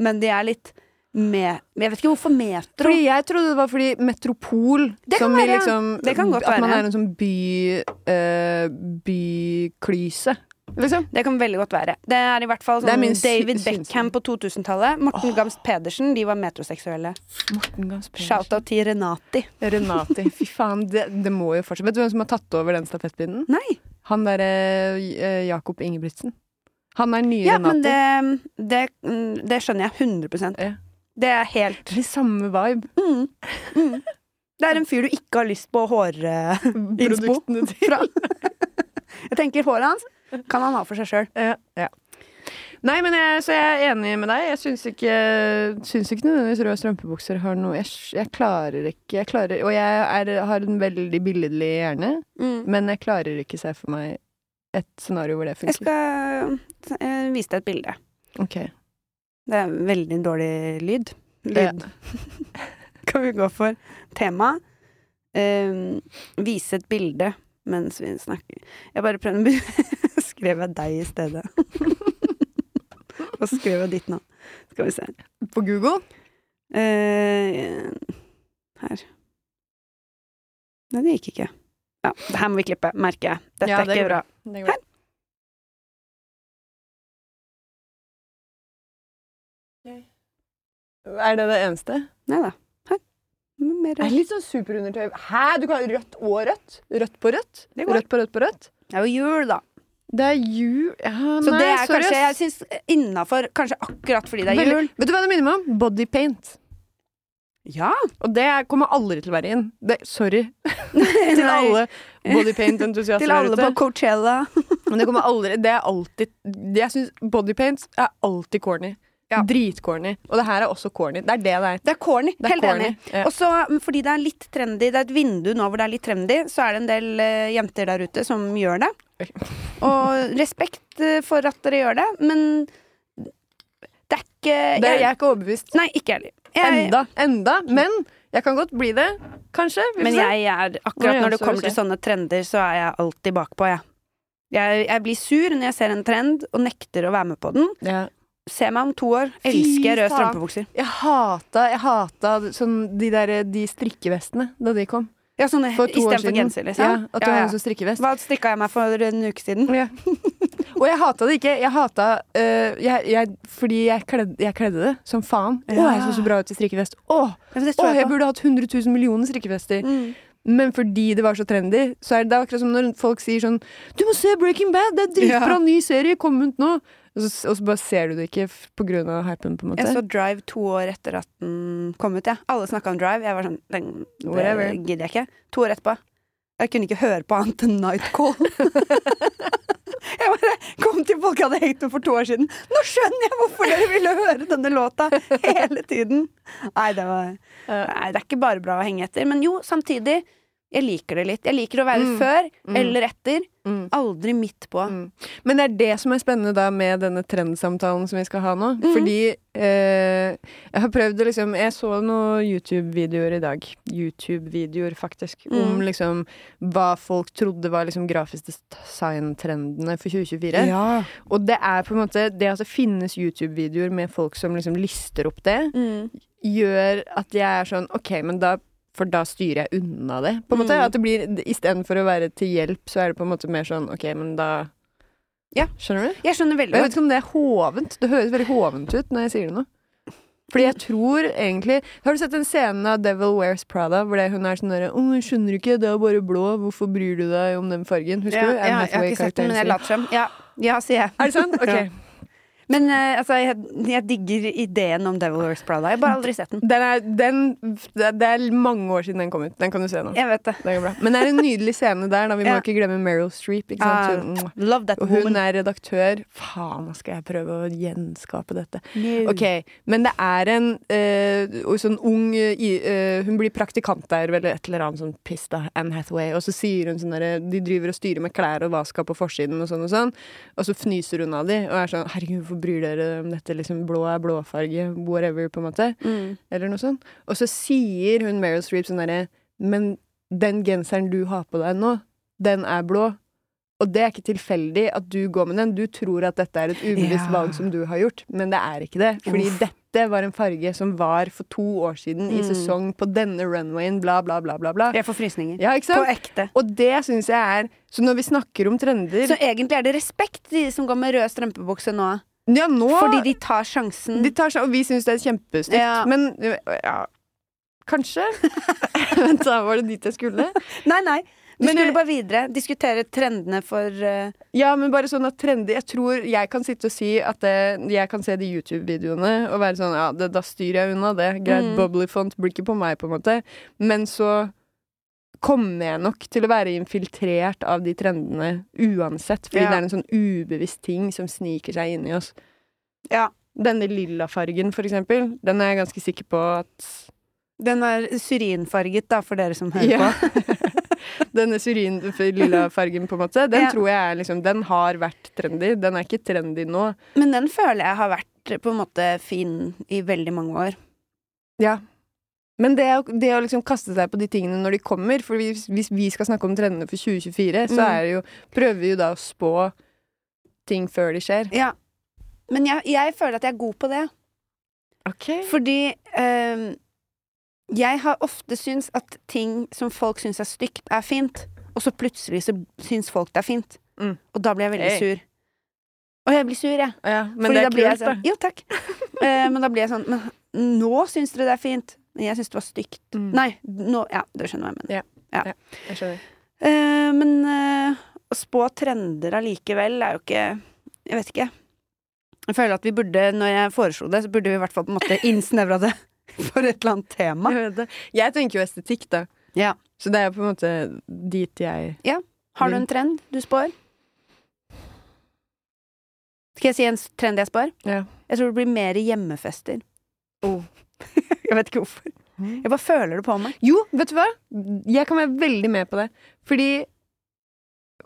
Speaker 1: men de er litt med Jeg vet ikke hvorfor metro.
Speaker 2: Fordi jeg trodde det var fordi metropol
Speaker 1: sånn Det kan
Speaker 2: som i
Speaker 1: være.
Speaker 2: liksom,
Speaker 1: Det kan godt
Speaker 2: At man
Speaker 1: være.
Speaker 2: er en sånn by eh, byklyse. Liksom.
Speaker 1: Det kan veldig godt være. Det er i hvert fall
Speaker 2: Det er
Speaker 1: sånn
Speaker 2: min sy-
Speaker 1: David
Speaker 2: synsing.
Speaker 1: Beckham på 2000-tallet. Morten Gamst Pedersen, de var metroseksuelle.
Speaker 2: Morten Gams Pedersen.
Speaker 1: Shout-out til Renati.
Speaker 2: Renati. [laughs] Fy faen, det, det må jo fortsette. Vet du hvem som har tatt over den stafettpinnen?
Speaker 1: Nei.
Speaker 2: Han derre eh, Jakob Ingebrigtsen. Han er den nye
Speaker 1: Ja, men
Speaker 2: Renati.
Speaker 1: det, det, mm, det skjønner jeg 100
Speaker 2: Ja.
Speaker 1: Det er helt
Speaker 2: Det er samme
Speaker 1: [laughs]
Speaker 2: vibe.
Speaker 1: Mm. Mm. Det er en fyr du ikke har lyst på å håre
Speaker 2: Produktene til.
Speaker 1: fra. Jeg tenker håret hans kan han ha for seg sjøl.
Speaker 2: Ja. ja. Nei, men jeg, så jeg er enig med deg. Jeg syns ikke, syns ikke nødvendigvis røde strømpebukser har noe Jeg, jeg klarer ikke jeg klarer, Og jeg er, har en veldig billedlig hjerne, men jeg klarer ikke se for meg et scenario hvor det
Speaker 1: Jeg
Speaker 2: funker.
Speaker 1: skal eh, vise deg et bilde.
Speaker 2: Ok.
Speaker 1: Det er veldig dårlig lyd. Lyd [laughs] kan vi gå for. Tema. Eh, vise et bilde mens vi snakker. Jeg bare prøvde å [laughs] Skrev jeg deg i stedet? [laughs] Og så skrev jeg ditt navn. Skal vi se.
Speaker 2: På Google?
Speaker 1: Eh, her. Nei, det gikk ikke. Ja, det her må vi klippe, merker jeg. Dette
Speaker 2: Ja,
Speaker 1: er
Speaker 2: det
Speaker 1: ikke
Speaker 2: går
Speaker 1: bra.
Speaker 2: Det
Speaker 1: går
Speaker 2: Er det det eneste?
Speaker 1: Nei da. Her. Men Mer.
Speaker 2: Det er litt sånn superundertøy. Hæ? Du kan ha rødt og rødt? Rødt på rødt?
Speaker 1: Det går.
Speaker 2: Rødt på rødt på rødt?
Speaker 1: Det er jo jul, da.
Speaker 2: Det er jul ja,
Speaker 1: Så
Speaker 2: nei,
Speaker 1: det er
Speaker 2: sorry,
Speaker 1: kanskje
Speaker 2: ass.
Speaker 1: jeg syns innafor. Kanskje akkurat fordi det er
Speaker 2: Veldig-
Speaker 1: jul.
Speaker 2: Vet du hva det minner meg om? Body paint.
Speaker 1: Ja!
Speaker 2: Og det kommer aldri til å være inn. Det,
Speaker 1: [laughs]
Speaker 2: sorry til
Speaker 1: Nei.
Speaker 2: alle
Speaker 1: [laughs]
Speaker 2: bodypaint-entusiaster
Speaker 1: Til
Speaker 2: der
Speaker 1: alle
Speaker 2: ute.
Speaker 1: på Coachella.
Speaker 2: Men det kommer aldri Det er alltid det Jeg syns bodypaint er alltid corny.
Speaker 1: Ja.
Speaker 2: Dritcorny. Og det her er også corny. Det er det det er.
Speaker 1: Det er corny.
Speaker 2: Det er
Speaker 1: Helt
Speaker 2: corny.
Speaker 1: enig.
Speaker 2: Ja.
Speaker 1: Og så, mm, fordi det er litt trendy, det er et vindu nå hvor det er litt trendy, så er det en del eh, jenter der ute som gjør det.
Speaker 2: Oi.
Speaker 1: [laughs] Og respekt eh, for at dere gjør det, men det er ikke
Speaker 2: det er
Speaker 1: jeg-
Speaker 2: jeg er ikke overbevist.
Speaker 1: Nei, ikke heller. jeg heller.
Speaker 2: Enda. Enda. Men jeg kan godt bli det. Kanskje. Vi får
Speaker 1: Men
Speaker 2: se.
Speaker 1: jeg er,
Speaker 2: Nå
Speaker 1: akkurat
Speaker 2: er
Speaker 1: når det
Speaker 2: jeg
Speaker 1: kommer
Speaker 2: sur,
Speaker 1: til sånne trender, så er jeg alltid bakpå, jeg. Jeg, jeg blir sur når jeg ser en trend og nekter å være med på den.
Speaker 2: ja.
Speaker 1: Se meg om to år.
Speaker 2: Fy
Speaker 1: Elsker røde
Speaker 2: faen.
Speaker 1: strømpebukser.
Speaker 2: Jeg hata, jeg hata sånn, de, der, de strikkevestene da de kom.
Speaker 1: Ja, sånne
Speaker 2: For to år
Speaker 1: istedenfor
Speaker 2: siden.
Speaker 1: genser,
Speaker 2: Ja,
Speaker 1: liksom.
Speaker 2: at du hadde sånn strikkevest.
Speaker 1: Hva strikka jeg meg for en uke siden?
Speaker 2: Ja. [laughs] Og jeg hata det ikke. Jeg hata øh, jeg, jeg, Fordi jeg kledde, jeg kledde det som faen. Å,
Speaker 1: Ja.
Speaker 2: jeg så så bra ut i strikkevest. Å,
Speaker 1: Ja, men det
Speaker 2: å,
Speaker 1: tror
Speaker 2: jeg
Speaker 1: på.
Speaker 2: burde hatt 100 000 millioner strikkevester.
Speaker 1: Mm.
Speaker 2: Men fordi det var så trendy, så er det, det er akkurat som når folk sier sånn Du må se Breaking Bad! Det er dritbra
Speaker 1: Ja.
Speaker 2: ny serie! Kom ut nå! Og så, og så bare ser du det ikke f- på grunn av hypen, på en måte.
Speaker 1: Jeg så Drive to år etter at den kom ut, jeg. Alle snakka om Drive. Jeg var sånn den, Det
Speaker 2: Whatever.
Speaker 1: gidder jeg ikke. To år etterpå. Jeg kunne ikke høre på annet enn Nightcall. [laughs] jeg bare kom til folk jeg hadde hengt med for to år siden. Nå skjønner jeg hvorfor dere ville høre denne låta hele tiden! Nei, det var Nei, det er ikke bare bra å henge etter. Men jo, samtidig. Jeg liker det litt. Jeg liker å være
Speaker 2: Mm.
Speaker 1: før
Speaker 2: Mm.
Speaker 1: eller etter.
Speaker 2: Mm.
Speaker 1: Aldri midt på.
Speaker 2: Mm. Men det er det som er spennende da med denne trendsamtalen som vi skal ha nå. Fordi eh, jeg har prøvd å liksom Jeg så noen YouTube-videoer i dag. YouTube-videoer, faktisk. Om
Speaker 1: Mm.
Speaker 2: liksom hva folk trodde var liksom grafisk design-trendene for 2024. Og det er på en måte Det at det finnes YouTube-videoer med folk som liksom lister opp det,
Speaker 1: Mm.
Speaker 2: gjør at jeg er sånn OK, men da for da styrer jeg unna det, på en måte.
Speaker 1: Mm.
Speaker 2: At det blir, Istedenfor å være til hjelp, så er det på en måte mer sånn OK, men da
Speaker 1: Ja.
Speaker 2: Skjønner du?
Speaker 1: Jeg skjønner
Speaker 2: Og Jeg
Speaker 1: veldig
Speaker 2: vet
Speaker 1: godt.
Speaker 2: ikke om det er hovent. Det høres veldig hovent ut når jeg sier det nå. Fordi jeg tror egentlig Har du sett den scenen av Devil Wears Prada hvor det, hun er sånn derre 'Å, jeg skjønner ikke, det er bare blå, hvorfor bryr du deg om den fargen?' Husker
Speaker 1: Ja,
Speaker 2: du? Anne
Speaker 1: ja, jeg har ikke sett det,
Speaker 2: Hathaway-karakteren
Speaker 1: men jeg
Speaker 2: sin.
Speaker 1: later som. Ja. ja, sier jeg.
Speaker 2: Er
Speaker 1: [laughs]
Speaker 2: det sant? Ok.
Speaker 1: Ja. Men eh, altså, jeg, jeg digger ideen om Devil Wears Prada. Jeg har bare aldri sett den.
Speaker 2: Den er, den, det det er mange år siden den kom ut. Den kan du se nå.
Speaker 1: Jeg vet det.
Speaker 2: Det går bra. Men det er en nydelig scene der. Da. Vi
Speaker 1: Ja.
Speaker 2: må ikke glemme Meryl Streep. Ikke
Speaker 1: Ah,
Speaker 2: sant? Hun-
Speaker 1: Love that
Speaker 2: og hun
Speaker 1: woman.
Speaker 2: er redaktør. Faen, nå skal jeg prøve å gjenskape dette. Ok, Men det er en eh, sånn ung eh, i- eh, Hun blir praktikant der, eller et eller annet sånn piss, da. Anne Hathaway. Og så sier hun sånn derre De driver og styrer med klær og hva skal på forsiden og sånn og sånn. Og så fnyser hun av de og er sånn Herregud, hvorfor bryr dere om dette? Liksom blå er blåfarge, whatever, på en måte
Speaker 1: Mm.
Speaker 2: eller noe sånt. Og så sier hun Meryl Streep sånn derre Men den genseren du har på deg nå, den er blå. Og det er ikke tilfeldig at du går med den. Du tror at dette er et ubevisst
Speaker 1: Ja.
Speaker 2: valg som du har gjort, men det er ikke det. Fordi
Speaker 1: Uff.
Speaker 2: dette var en farge som var for to år siden i
Speaker 1: Mm.
Speaker 2: sesong på denne runwayen, bla, bla, bla, bla, bla.
Speaker 1: Jeg får frysninger.
Speaker 2: Ja, ikke
Speaker 1: På
Speaker 2: sant?
Speaker 1: ekte.
Speaker 2: Og det syns jeg er Så når vi snakker om trender
Speaker 1: Så egentlig er det respekt til de som går med rød strømpebukse nå.
Speaker 2: Ja, nå
Speaker 1: Fordi de tar sjansen.
Speaker 2: De tar seg, og vi syns det er kjempestygt,
Speaker 1: Ja.
Speaker 2: men ja, kanskje. [laughs] Vent, da var det dit jeg skulle.
Speaker 1: Nei, nei. Du
Speaker 2: Men,
Speaker 1: skulle
Speaker 2: eh,
Speaker 1: bare videre. Diskutere trendene for eh,
Speaker 2: Ja, men bare sånn at trendy Jeg tror jeg kan sitte og si at det, jeg kan se de YouTube-videoene og være sånn Ja, det, da styrer jeg unna det. Greit,
Speaker 1: Mm.
Speaker 2: bubblyfont blir ikke på meg, på en måte. Men så kommer jeg nok til å være infiltrert av de trendene uansett. Fordi
Speaker 1: Ja.
Speaker 2: det er en sånn ubevisst ting som sniker seg inn i oss.
Speaker 1: Ja.
Speaker 2: Denne lilla fargen, for eksempel, den er jeg ganske sikker på at
Speaker 1: Den er syrinfarget, da, for dere som hører
Speaker 2: Ja. [laughs]
Speaker 1: på.
Speaker 2: Denne syrin lilla fargen, på en måte, den
Speaker 1: Ja.
Speaker 2: tror jeg er liksom Den har vært trendy. Den er ikke trendy nå.
Speaker 1: Men den føler jeg har vært eh, på en måte fin i veldig mange år.
Speaker 2: Ja. Men det, å- det å liksom kaste seg på de tingene når de kommer For hvis, hvis vi skal snakke om trendene for 2024, så
Speaker 1: Mm.
Speaker 2: er det jo, prøver vi jo da å spå ting før de skjer.
Speaker 1: Ja. Men jeg, jeg føler at jeg er god på det.
Speaker 2: Ok.
Speaker 1: Fordi ehm, jeg har ofte syns at ting som folk syns er stygt, er fint. Og så plutselig så syns folk det er fint.
Speaker 2: Mm.
Speaker 1: Og da blir jeg veldig
Speaker 2: Hey.
Speaker 1: sur. Og jeg blir sur, jeg.
Speaker 2: Ja, men
Speaker 1: Fordi
Speaker 2: det
Speaker 1: da
Speaker 2: er
Speaker 1: blir jeg
Speaker 2: kult,
Speaker 1: sånn,
Speaker 2: da.
Speaker 1: Jo,
Speaker 2: [laughs]
Speaker 1: takk. Eh, men da blir jeg sånn Men nå syns dere det er fint. Men jeg syns det var stygt.
Speaker 2: Mm.
Speaker 1: Nei, nå Ja, du skjønner hva jeg mener.
Speaker 2: Jeg skjønner.
Speaker 1: Eh, men eh, å spå trender allikevel er jo ikke Jeg vet ikke. Jeg føler at vi burde, når jeg foreslo det, så burde vi i hvert fall på en måte innsnevra det [laughs] for et eller annet tema.
Speaker 2: Jeg, vet det. jeg tenker jo estetikk, da.
Speaker 1: Ja.
Speaker 2: Så det er på en måte dit jeg
Speaker 1: Har du en trend du spår? Skal jeg si en s- trend jeg spår?
Speaker 2: Ja.
Speaker 1: Jeg tror det blir mer hjemmefester.
Speaker 2: Oh.
Speaker 1: [laughs] jeg vet ikke hvorfor. Jeg bare føler det på meg.
Speaker 2: Mm. Jo, vet du hva? Jeg kan være veldig med på det. Fordi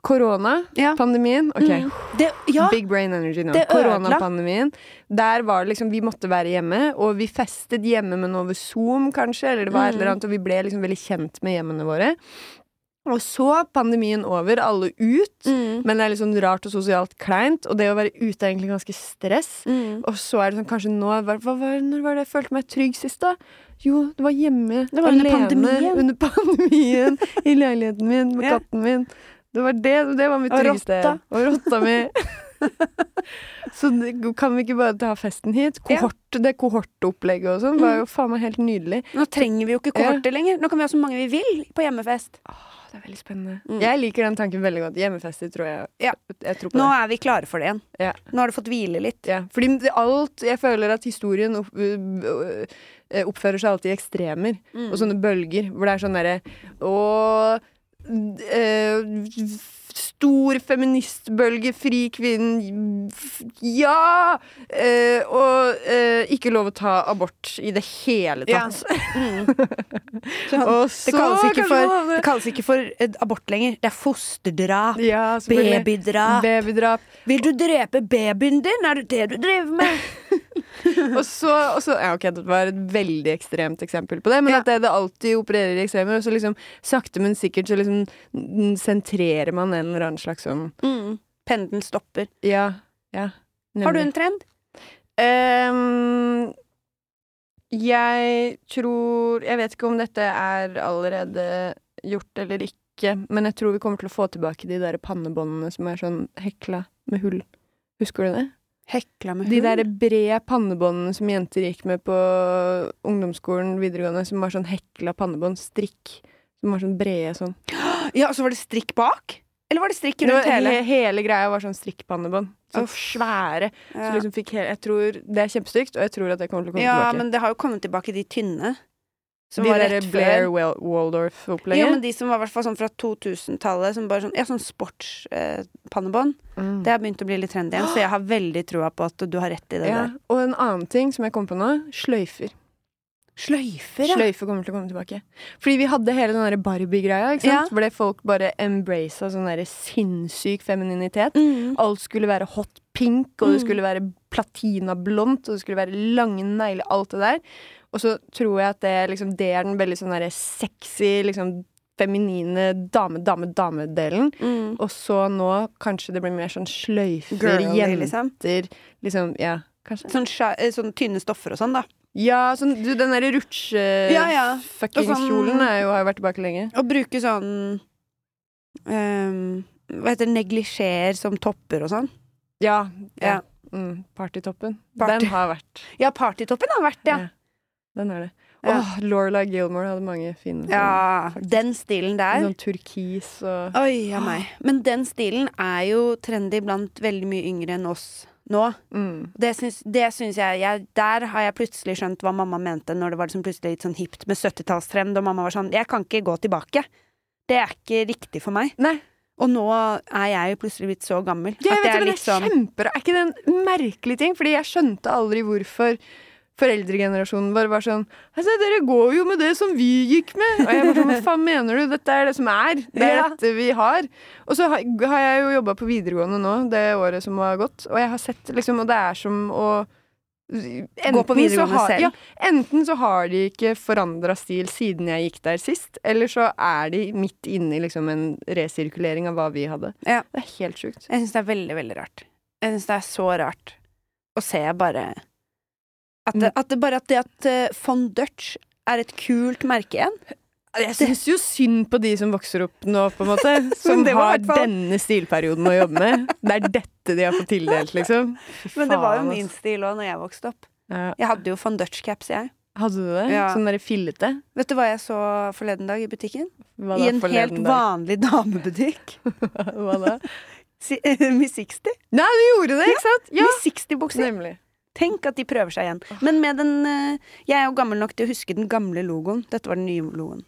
Speaker 2: korona,
Speaker 1: Ja.
Speaker 2: pandemien Ok,
Speaker 1: Mm. Det, ja,
Speaker 2: big brain energy nå.
Speaker 1: Det ødela.
Speaker 2: Koronapandemien. Der var det liksom Vi måtte være hjemme, og vi festet hjemme, men over Zoom, kanskje, eller det var et
Speaker 1: Mm.
Speaker 2: eller annet, og vi ble liksom veldig kjent med hjemmene våre. Og så pandemien over, alle ut,
Speaker 1: Mm.
Speaker 2: men det er litt sånn rart og sosialt kleint, og det å være ute er egentlig ganske stress.
Speaker 1: Mm.
Speaker 2: Og så er det sånn, kanskje nå hva, hva, var- Når var det jeg følte meg trygg sist, da? Jo, det var hjemme.
Speaker 1: Det var under
Speaker 2: alene,
Speaker 1: pandemien.
Speaker 2: Under pandemien. I leiligheten min, med
Speaker 1: Ja.
Speaker 2: katten min. Det var det, det var mitt
Speaker 1: Og
Speaker 2: tryggeste.
Speaker 1: rotta.
Speaker 2: Og rotta mi.
Speaker 1: [laughs]
Speaker 2: så det, kan vi ikke bare ta festen hit?
Speaker 1: Ja. Mm.
Speaker 2: Kohort, Det kohortopplegget og sånn var jo faen meg helt nydelig.
Speaker 1: Nå trenger vi jo ikke
Speaker 2: Ja.
Speaker 1: kohorter lenger. Nå kan vi ha så mange vi vil på hjemmefest.
Speaker 2: Åh, det er veldig spennende.
Speaker 1: Mm.
Speaker 2: Jeg liker den tanken veldig godt. Hjemmefester tror jeg
Speaker 1: Ja.
Speaker 2: Jeg tror på
Speaker 1: Nå
Speaker 2: det.
Speaker 1: er vi klare for det igjen.
Speaker 2: Ja.
Speaker 1: Nå har du fått hvile litt.
Speaker 2: Ja, fordi det- alt Jeg føler at historien opp, øh,
Speaker 1: Mm.
Speaker 2: øh, oppfører seg alltid i ekstremer. og sånne bølger hvor det er sånn derre Å, eh, Stor feministbølge, fri kvinnen, f- ja! eh, og eh, ikke lov å ta abort i det
Speaker 1: [laughs]
Speaker 2: hele tatt. Og Mm. så
Speaker 1: sånn. Det kalles, ikke
Speaker 2: kanskje
Speaker 1: for,
Speaker 2: man-
Speaker 1: det kalles ikke for eh, abort lenger. Det er fosterdrap.
Speaker 2: ja, selvfølgelig.
Speaker 1: Babydrap.
Speaker 2: Babydrap.
Speaker 1: Vil du drepe babyen din? Er det det du driver
Speaker 2: [laughs]
Speaker 1: med?
Speaker 2: Og så, og så ja, Ok, det var et veldig ekstremt eksempel på det, men
Speaker 1: Ja.
Speaker 2: at det, det alltid opererer i ekstremer, og så liksom sakte, men sikkert så liksom n- sentrerer man en eller annen slags sånn
Speaker 1: Pendelen stopper.
Speaker 2: Ja. ja
Speaker 1: Har du
Speaker 2: nemlig.
Speaker 1: en trend?
Speaker 2: Ehm, jeg tror Jeg vet ikke om dette er allerede gjort eller ikke, men jeg tror vi kommer til å få tilbake de der pannebåndene som er sånn hekla med hull. Husker du det?
Speaker 1: Hekla med
Speaker 2: De
Speaker 1: hull.
Speaker 2: der brede pannebåndene som jenter gikk med på ungdomsskolen, videregående, som var sånn hekla pannebånd, strikk. Som var sånn brede sånn.
Speaker 1: Ja, så var det strikk bak? Eller var det strikk
Speaker 2: Det
Speaker 1: rundt
Speaker 2: var,
Speaker 1: hele?
Speaker 2: he hele greia var sånn strikkpannebånd. Sånn
Speaker 1: Uff.
Speaker 2: svære. Så
Speaker 1: Ja.
Speaker 2: liksom fikk hele, jeg tror, det er kjempestygt, og jeg tror at det kommer til å komme
Speaker 1: ja,
Speaker 2: tilbake.
Speaker 1: men det har jo kommet tilbake de tynne. Som
Speaker 2: de
Speaker 1: var
Speaker 2: der
Speaker 1: rett
Speaker 2: Blair
Speaker 1: før.
Speaker 2: Wal- Waldorf-opplegget?
Speaker 1: Ja, men de som var i hvert fall sånn fra 2000-tallet, som bare sånn Ja, sånn sportspannebånd.
Speaker 2: Mm.
Speaker 1: det har begynt å bli litt trendy igjen, så jeg har veldig trua på at du har rett i det
Speaker 2: ja.
Speaker 1: der.
Speaker 2: Og en annen ting som jeg kom på nå, sløyfer.
Speaker 1: Sløyfer, ja.
Speaker 2: Sløyfer kommer til å komme tilbake. Fordi vi hadde hele den der Barbie-greia, ikke
Speaker 1: Ja.
Speaker 2: sant? Hvor det folk bare embracet sånn der sinnssyk femininitet.
Speaker 1: Mm.
Speaker 2: Alt skulle være hot pink, og det
Speaker 1: Mm.
Speaker 2: skulle være platinablondt, og det skulle være lange negler, alt det der. Og så tror jeg at det, liksom, det er den veldig sånn derre sexy, liksom feminine dame-dame-dame-delen.
Speaker 1: Mm.
Speaker 2: Og så nå kanskje det blir mer sånn sløyfer,
Speaker 1: Girly,
Speaker 2: jenter
Speaker 1: liksom.
Speaker 2: jenter liksom, ja, kanskje
Speaker 1: Sånn, sja- eh, sånn tynne stoffer og sånn, da.
Speaker 2: Ja, sånn, du, den derre
Speaker 1: Ja, ja.
Speaker 2: rutsje-fuckings-kjolen
Speaker 1: Og sånn-
Speaker 2: har jo vært tilbake lenge.
Speaker 1: Å bruke sånn ehm, Hva heter det, neglisjeer som topper og sånn.
Speaker 2: Ja.
Speaker 1: Ja.
Speaker 2: ja. Mm, partytoppen.
Speaker 1: Party.
Speaker 2: Den har vært.
Speaker 1: Ja, partytoppen har vært det.
Speaker 2: Ja. Den er det.
Speaker 1: Ja.
Speaker 2: Åh, Lorelai Gilmore hadde mange fine sånn-
Speaker 1: Ja, den stilen der.
Speaker 2: Sånn turkis og
Speaker 1: Oi, ja meg. Men den stilen er jo trendy blant veldig mye yngre enn oss nå.
Speaker 2: mm.
Speaker 1: Det syns, det syns jeg, jeg Der har jeg plutselig skjønt hva mamma mente når det var liksom plutselig litt sånn hipt med 70-tallstrend, og mamma var sånn Jeg kan ikke gå tilbake. Det er ikke riktig for meg.
Speaker 2: Nei.
Speaker 1: Og nå er jeg jo plutselig blitt så gammel
Speaker 2: Ja, jeg
Speaker 1: at det
Speaker 2: vet
Speaker 1: er
Speaker 2: ikke, men
Speaker 1: litt sånn
Speaker 2: det er kjemper... Er ikke det en merkelig ting? Fordi jeg skjønte aldri hvorfor foreldregenerasjonen vår var sånn altså, 'Dere går jo med det som vi gikk med.' Og jeg bare sånn 'Hva faen mener du? Dette er det som er. Det er
Speaker 1: Ja.
Speaker 2: dette vi har.' Og så har har jeg jo jobba på videregående nå, det året som har gått, og jeg har sett liksom Og det er som å
Speaker 1: Gå på
Speaker 2: Enten så
Speaker 1: videregående
Speaker 2: har,
Speaker 1: selv.
Speaker 2: Ja, enten så har de ikke forandra stil siden jeg gikk der sist, eller så er de midt inne i liksom en resirkulering av hva vi hadde.
Speaker 1: Ja.
Speaker 2: Det er helt sjukt.
Speaker 1: Jeg syns det er veldig, veldig rart. Jeg syns det er så rart å se bare At det, at det bare at det at eh, von Dutch er et kult merke igjen.
Speaker 2: Jeg syns jo synd på de som vokser opp nå, på en måte.
Speaker 1: [laughs]
Speaker 2: Som
Speaker 1: Men det var i
Speaker 2: har
Speaker 1: hvert fall-
Speaker 2: denne stilperioden å jobbe med. Det er dette de har fått tildelt, liksom. Fy
Speaker 1: [laughs] Men det var jo
Speaker 2: faen,
Speaker 1: min
Speaker 2: altså.
Speaker 1: stil òg når jeg vokste opp.
Speaker 2: Ja.
Speaker 1: Jeg hadde jo von Dutch-caps, jeg.
Speaker 2: Hadde du det?
Speaker 1: Ja.
Speaker 2: Sånn derre fillete?
Speaker 1: Vet du hva jeg så forleden dag i butikken?
Speaker 2: Hva
Speaker 1: I en helt
Speaker 2: forleden dag?
Speaker 1: vanlig damebutikk. [laughs]
Speaker 2: [laughs] Hva da?
Speaker 1: Si- eh, Miss 60.
Speaker 2: Nei, du gjorde det, ikke sant? Ja,
Speaker 1: Miss 60-bukser.
Speaker 2: nemlig.
Speaker 1: Tenk at de prøver seg igjen. Men med den eh, Jeg er jo gammel nok til å huske den gamle logoen. Dette var den nye logoen.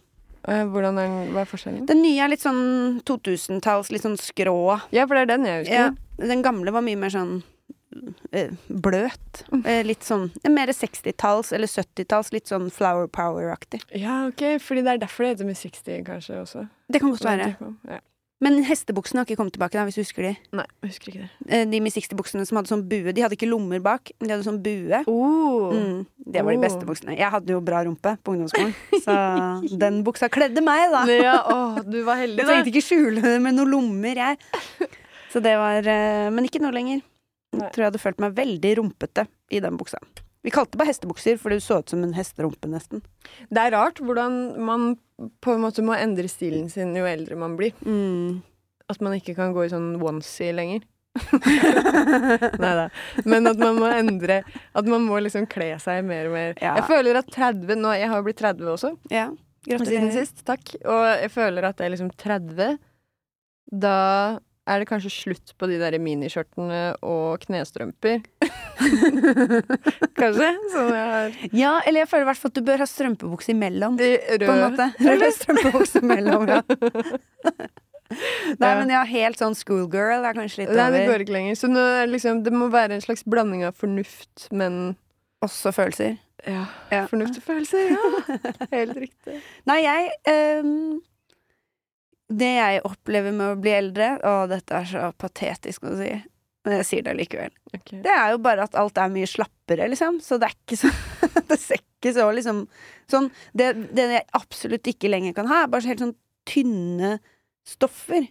Speaker 2: Eh, Hvordan er den, hva er forskjellen?
Speaker 1: Den nye er litt sånn 2000-talls, litt sånn skrå.
Speaker 2: Ja, for det er den jeg husker.
Speaker 1: Ja, den gamle var mye mer sånn eh, bløt. Eh, Litt sånn mer 60-talls eller 70-talls, litt sånn Flower Power-aktig.
Speaker 2: Ja, ok, fordi det er derfor det heter Miss 60 kanskje også.
Speaker 1: Det kan godt være.
Speaker 2: Ja.
Speaker 1: Men hestebuksene har ikke kommet tilbake, da, hvis du husker de.
Speaker 2: Nei, jeg husker ikke det.
Speaker 1: Eh, De Miss 60-buksene som hadde sånn bue. De hadde ikke lommer bak, men de hadde sånn bue.
Speaker 2: Oh.
Speaker 1: [laughs] Mm, det var
Speaker 2: Oh.
Speaker 1: de beste buksene. Jeg hadde jo bra rumpe på [laughs] ungdomsskolen, så den buksa kledde meg, da.
Speaker 2: Ja, åh, du var heldig,
Speaker 1: Jeg
Speaker 2: da.
Speaker 1: trengte ikke skjule det med noen lommer, jeg. Så det var eh, Men ikke nå lenger.
Speaker 2: Nei.
Speaker 1: Jeg tror jeg hadde følt meg veldig rumpete i den buksa. Vi kalte det bare hestebukser, for det så ut som en hesterumpe, nesten.
Speaker 2: Det er rart hvordan man på en måte må endre stilen sin jo eldre man blir.
Speaker 1: Mm. [laughs]
Speaker 2: At man ikke kan gå i sånn onesie lenger. Neida. Men at man må endre At man må liksom kle seg mer og mer.
Speaker 1: Ja.
Speaker 2: Jeg føler at 30 nå Jeg har jo blitt 30 også,
Speaker 1: Ja.
Speaker 2: siden
Speaker 1: Gratulerer.
Speaker 2: sist. Takk. Og jeg føler at det er liksom 30 Da er det kanskje slutt på de der miniskjørtene og
Speaker 1: [laughs]
Speaker 2: knestrømper. kanskje? Sånn jeg har
Speaker 1: Ja, eller jeg føler i hvert fall at du bør ha strømpebukse imellom.
Speaker 2: de
Speaker 1: På en
Speaker 2: røde
Speaker 1: måte. Eller [laughs] strømpebukse imellom, [laughs] ja. Nei, men ja, helt sånn schoolgirl er kanskje litt
Speaker 2: Nei, det
Speaker 1: over.
Speaker 2: går ikke lenger. Så nå er det liksom, det må være en slags blanding av fornuft, men
Speaker 1: Også følelser.
Speaker 2: ja,
Speaker 1: Ja.
Speaker 2: fornuft og følelser.
Speaker 1: [laughs]
Speaker 2: Ja. Helt riktig.
Speaker 1: Nei, jeg ehm, Det jeg opplever med å bli eldre Og dette er så patetisk å si Men jeg sier det allikevel
Speaker 2: Ok.
Speaker 1: Det er jo bare at alt er mye slappere liksom Så det er ikke så [laughs] Det ser ikke så liksom sånn, det, det jeg absolutt ikke lenger kan ha Er bare så helt sånn tynne stoffer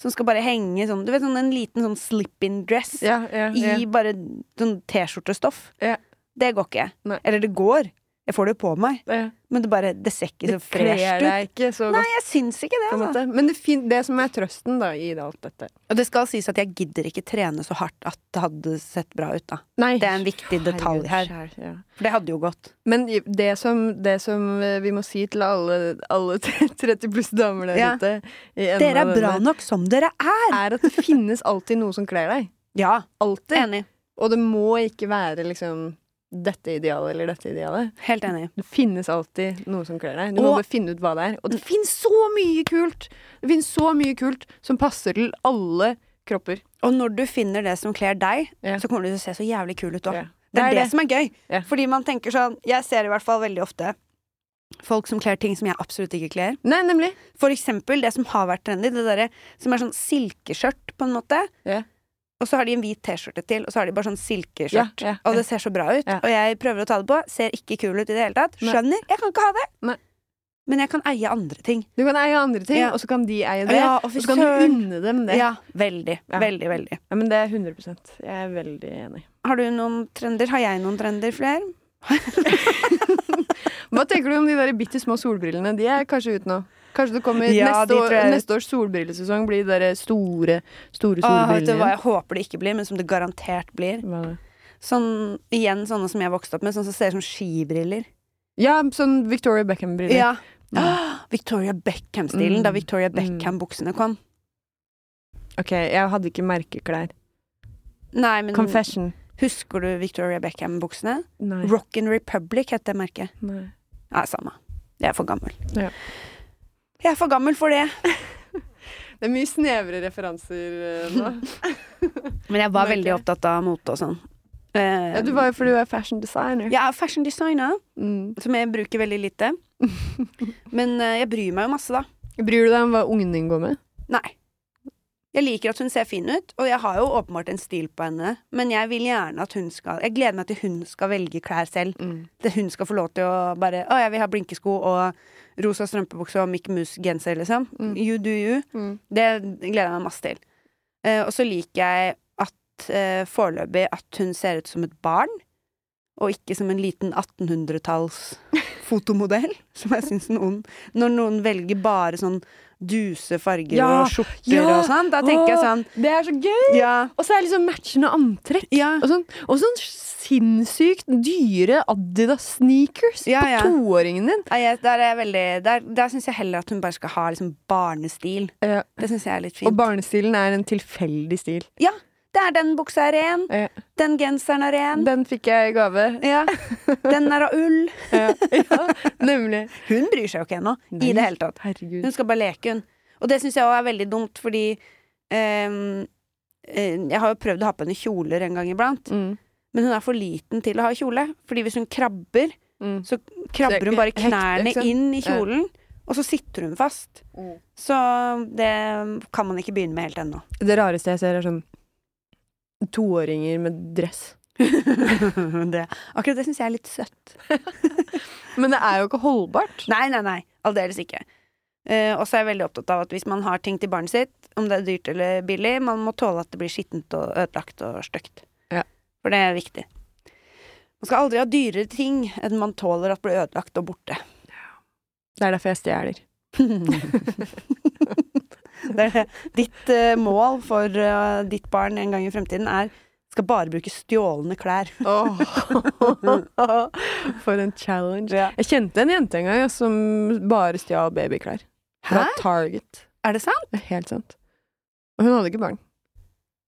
Speaker 1: Som skal bare henge sånn Du vet sånn en liten sånn slip-in dress
Speaker 2: Ja, ja, ja.
Speaker 1: I bare sånn t-skjortestoff
Speaker 2: Ja.
Speaker 1: Det går ikke
Speaker 2: Nei.
Speaker 1: Eller det går Jeg får det jo på meg
Speaker 2: ja.
Speaker 1: men det bare, det ser ikke
Speaker 2: Det
Speaker 1: så fresht
Speaker 2: kler
Speaker 1: ut.
Speaker 2: deg ikke så
Speaker 1: Nei,
Speaker 2: godt.
Speaker 1: jeg syns ikke det.
Speaker 2: På en
Speaker 1: Altså.
Speaker 2: måte. Men det, fin det som er trøsten da, i alt dette
Speaker 1: Og det skal sies at jeg gidder ikke trene så hardt at det hadde sett bra ut, da.
Speaker 2: Nei,
Speaker 1: Det er en viktig detalj her.
Speaker 2: Herregud, skjær, ja.
Speaker 1: For det hadde jo gått.
Speaker 2: Men i- det som, det som eh, vi må si til alle, alle [laughs] 30 pluss damer der
Speaker 1: Ja.
Speaker 2: ute i enden
Speaker 1: Dere
Speaker 2: av
Speaker 1: er bra
Speaker 2: denne,
Speaker 1: nok som dere er!
Speaker 2: er at det finnes alltid noe som kler
Speaker 1: [laughs]
Speaker 2: deg.
Speaker 1: Ja,
Speaker 2: Alltid.
Speaker 1: enig.
Speaker 2: Og det må ikke være liksom dette idealet eller dette idealet.
Speaker 1: Helt enig.
Speaker 2: Det finnes alltid noe som kler deg. Du
Speaker 1: Og-
Speaker 2: må bare finne ut hva det er. Og det finnes så mye kult! Det finnes så mye kult som passer til alle kropper.
Speaker 1: Og når du finner det som kler deg,
Speaker 2: Ja.
Speaker 1: så kommer du til å se så jævlig kul ut òg.
Speaker 2: Ja.
Speaker 1: Det er det, som er gøy.
Speaker 2: Ja.
Speaker 1: Fordi man tenker sånn Jeg ser i hvert fall veldig ofte folk som kler ting som jeg absolutt ikke kler.
Speaker 2: Nei, nemlig.
Speaker 1: For eksempel det som har vært trendy, det derre som er sånn silkeskjørt, på en måte.
Speaker 2: Ja.
Speaker 1: Og så har de en hvit T-skjorte til, og så har de bare sånn
Speaker 2: Ja,
Speaker 1: silkeskjørt.
Speaker 2: ja,
Speaker 1: Og
Speaker 2: ja.
Speaker 1: det ser så bra ut.
Speaker 2: Ja.
Speaker 1: Og jeg prøver å ta det på. Ser ikke kul ut i det hele tatt.
Speaker 2: Nei.
Speaker 1: Skjønner. Jeg kan ikke ha det.
Speaker 2: Nei.
Speaker 1: Men jeg kan eie andre ting.
Speaker 2: Du kan eie andre ting,
Speaker 1: Ja.
Speaker 2: og så kan de eie det.
Speaker 1: Ja, og
Speaker 2: og
Speaker 1: fy
Speaker 2: så kan du
Speaker 1: søren.
Speaker 2: unne dem det.
Speaker 1: Ja, veldig.
Speaker 2: Ja.
Speaker 1: Veldig, veldig.
Speaker 2: Ja, men det er 100 Jeg er veldig enig.
Speaker 1: Har du noen trender? Har jeg noen trender flere?
Speaker 2: Hva tenker du om de der bitte små solbrillene? De er kanskje ute nå. Kanskje det kommer
Speaker 1: Ja, de
Speaker 2: neste, år,
Speaker 1: tror jeg-
Speaker 2: neste års solbrillesesong blir de der store, store
Speaker 1: Åh, Ah, vet du
Speaker 2: solbrillene.
Speaker 1: hva jeg håper det ikke blir, men som det garantert blir?
Speaker 2: Hva da?
Speaker 1: Sånn, igjen sånne som jeg vokste opp med, sånn som ser ut som skibriller.
Speaker 2: Ja, sånn Victoria Beckham-briller.
Speaker 1: Ja. Ah, [gasps] Victoria Beckham-stilen,
Speaker 2: Mm.
Speaker 1: da Victoria
Speaker 2: Mm.
Speaker 1: Beckham-buksene kom.
Speaker 2: Ok, jeg hadde ikke merkeklær.
Speaker 1: Nei, men
Speaker 2: Confession.
Speaker 1: husker du Victoria Beckham-buksene?
Speaker 2: Nei.
Speaker 1: Rockin' Republic het det merket.
Speaker 2: Nei.
Speaker 1: Nei, samme. Jeg er for gammel.
Speaker 2: Ja.
Speaker 1: Jeg er for gammel for det.
Speaker 2: Det er mye snevre referanser eh, [laughs] nå.
Speaker 1: Men jeg var
Speaker 2: Merker
Speaker 1: veldig
Speaker 2: jeg.
Speaker 1: opptatt av mote og sånn.
Speaker 2: ja, du var jo fordi du er fashion designer.
Speaker 1: Jeg er fashion designer,
Speaker 2: Mm.
Speaker 1: som jeg bruker veldig lite.
Speaker 2: [laughs]
Speaker 1: Men eh, jeg bryr meg jo masse, da.
Speaker 2: Bryr du deg om hva ungen din går med?
Speaker 1: Nei. Jeg liker at hun ser fin ut, og jeg har jo åpenbart en stil på henne. Men jeg vil gjerne at hun skal Jeg gleder meg til hun skal velge klær selv.
Speaker 2: Mm.
Speaker 1: Til hun skal få lov til å bare Å, jeg vil ha blinkesko og rosa strømpebukse og Mickey Mouse-genser, liksom.
Speaker 2: Mm.
Speaker 1: You do you.
Speaker 2: Mm.
Speaker 1: Det gleder jeg meg masse til. Eh, og så liker jeg at eh, foreløpig at hun ser ut som et barn, og ikke som en liten
Speaker 2: [laughs]
Speaker 1: 1800-talls fotomodell, som jeg syns noen Når noen velger bare sånn duse farger
Speaker 2: Ja,
Speaker 1: og skjorter
Speaker 2: ja,
Speaker 1: og sånn, da tenker jeg
Speaker 2: åh.
Speaker 1: sånn
Speaker 2: Det er så gøy!
Speaker 1: Ja.
Speaker 2: Og så er det liksom matchende antrekk.
Speaker 1: ja.
Speaker 2: Og sånn, og sånn sinnssykt dyre Adidas-sneakers
Speaker 1: Ja, ja.
Speaker 2: på toåringen din.
Speaker 1: Nei, jeg- Der er jeg veldig Der, der syns jeg heller at hun bare skal ha liksom barnestil.
Speaker 2: Ja.
Speaker 1: Det syns jeg er litt
Speaker 2: Eh, Og
Speaker 1: fint.
Speaker 2: barnestilen er en tilfeldig stil.
Speaker 1: Der, den buksa er ren.
Speaker 2: Ja.
Speaker 1: Den genseren er ren.
Speaker 2: Den fikk jeg i gave. [laughs]
Speaker 1: Ja. [laughs] Den er av ull.
Speaker 2: Ja, ja nemlig.
Speaker 1: Hun bryr seg jo ikke ennå. I
Speaker 2: Nei.
Speaker 1: det hele tatt.
Speaker 2: Herregud.
Speaker 1: Hun skal bare leke, hun. Og det syns jeg òg er veldig dumt, fordi ehm, eh, Jeg har jo prøvd å ha på henne kjoler en gang iblant,
Speaker 2: Mm.
Speaker 1: men hun er for liten til å ha kjole. Fordi hvis hun krabber,
Speaker 2: Mm.
Speaker 1: så krabber hun bare
Speaker 2: Hekte,
Speaker 1: knærne
Speaker 2: ikke sant?
Speaker 1: inn i
Speaker 2: Ja.
Speaker 1: kjolen, og så sitter hun fast.
Speaker 2: Mm.
Speaker 1: Så det kan man ikke begynne med helt ennå. [laughs]
Speaker 2: Det rareste jeg ser, er sånn toåringer med dress.
Speaker 1: det, akkurat det syns jeg er litt søtt.
Speaker 2: Men det er jo ikke holdbart.
Speaker 1: Nei, nei, nei. Aldeles ikke. Eh, og så er jeg veldig opptatt av at hvis man har ting til barnet sitt, om det er dyrt eller billig, man må tåle at det blir skittent og ødelagt og stygt.
Speaker 2: Ja.
Speaker 1: For det er viktig. Man skal aldri ha dyrere ting enn man tåler at blir ødelagt og borte. [laughs]
Speaker 2: Det er derfor jeg stjeler.
Speaker 1: det er det. Ditt eh, mål for eh, ditt barn en gang i fremtiden er skal bare bruke stjålne klær.
Speaker 2: [laughs] For en challenge.
Speaker 1: Ja.
Speaker 2: Jeg kjente en jente en gang ja, som bare stjal babyklær. Fra Target.
Speaker 1: Er det sant?
Speaker 2: Det er helt sant. Hun hadde ikke barn.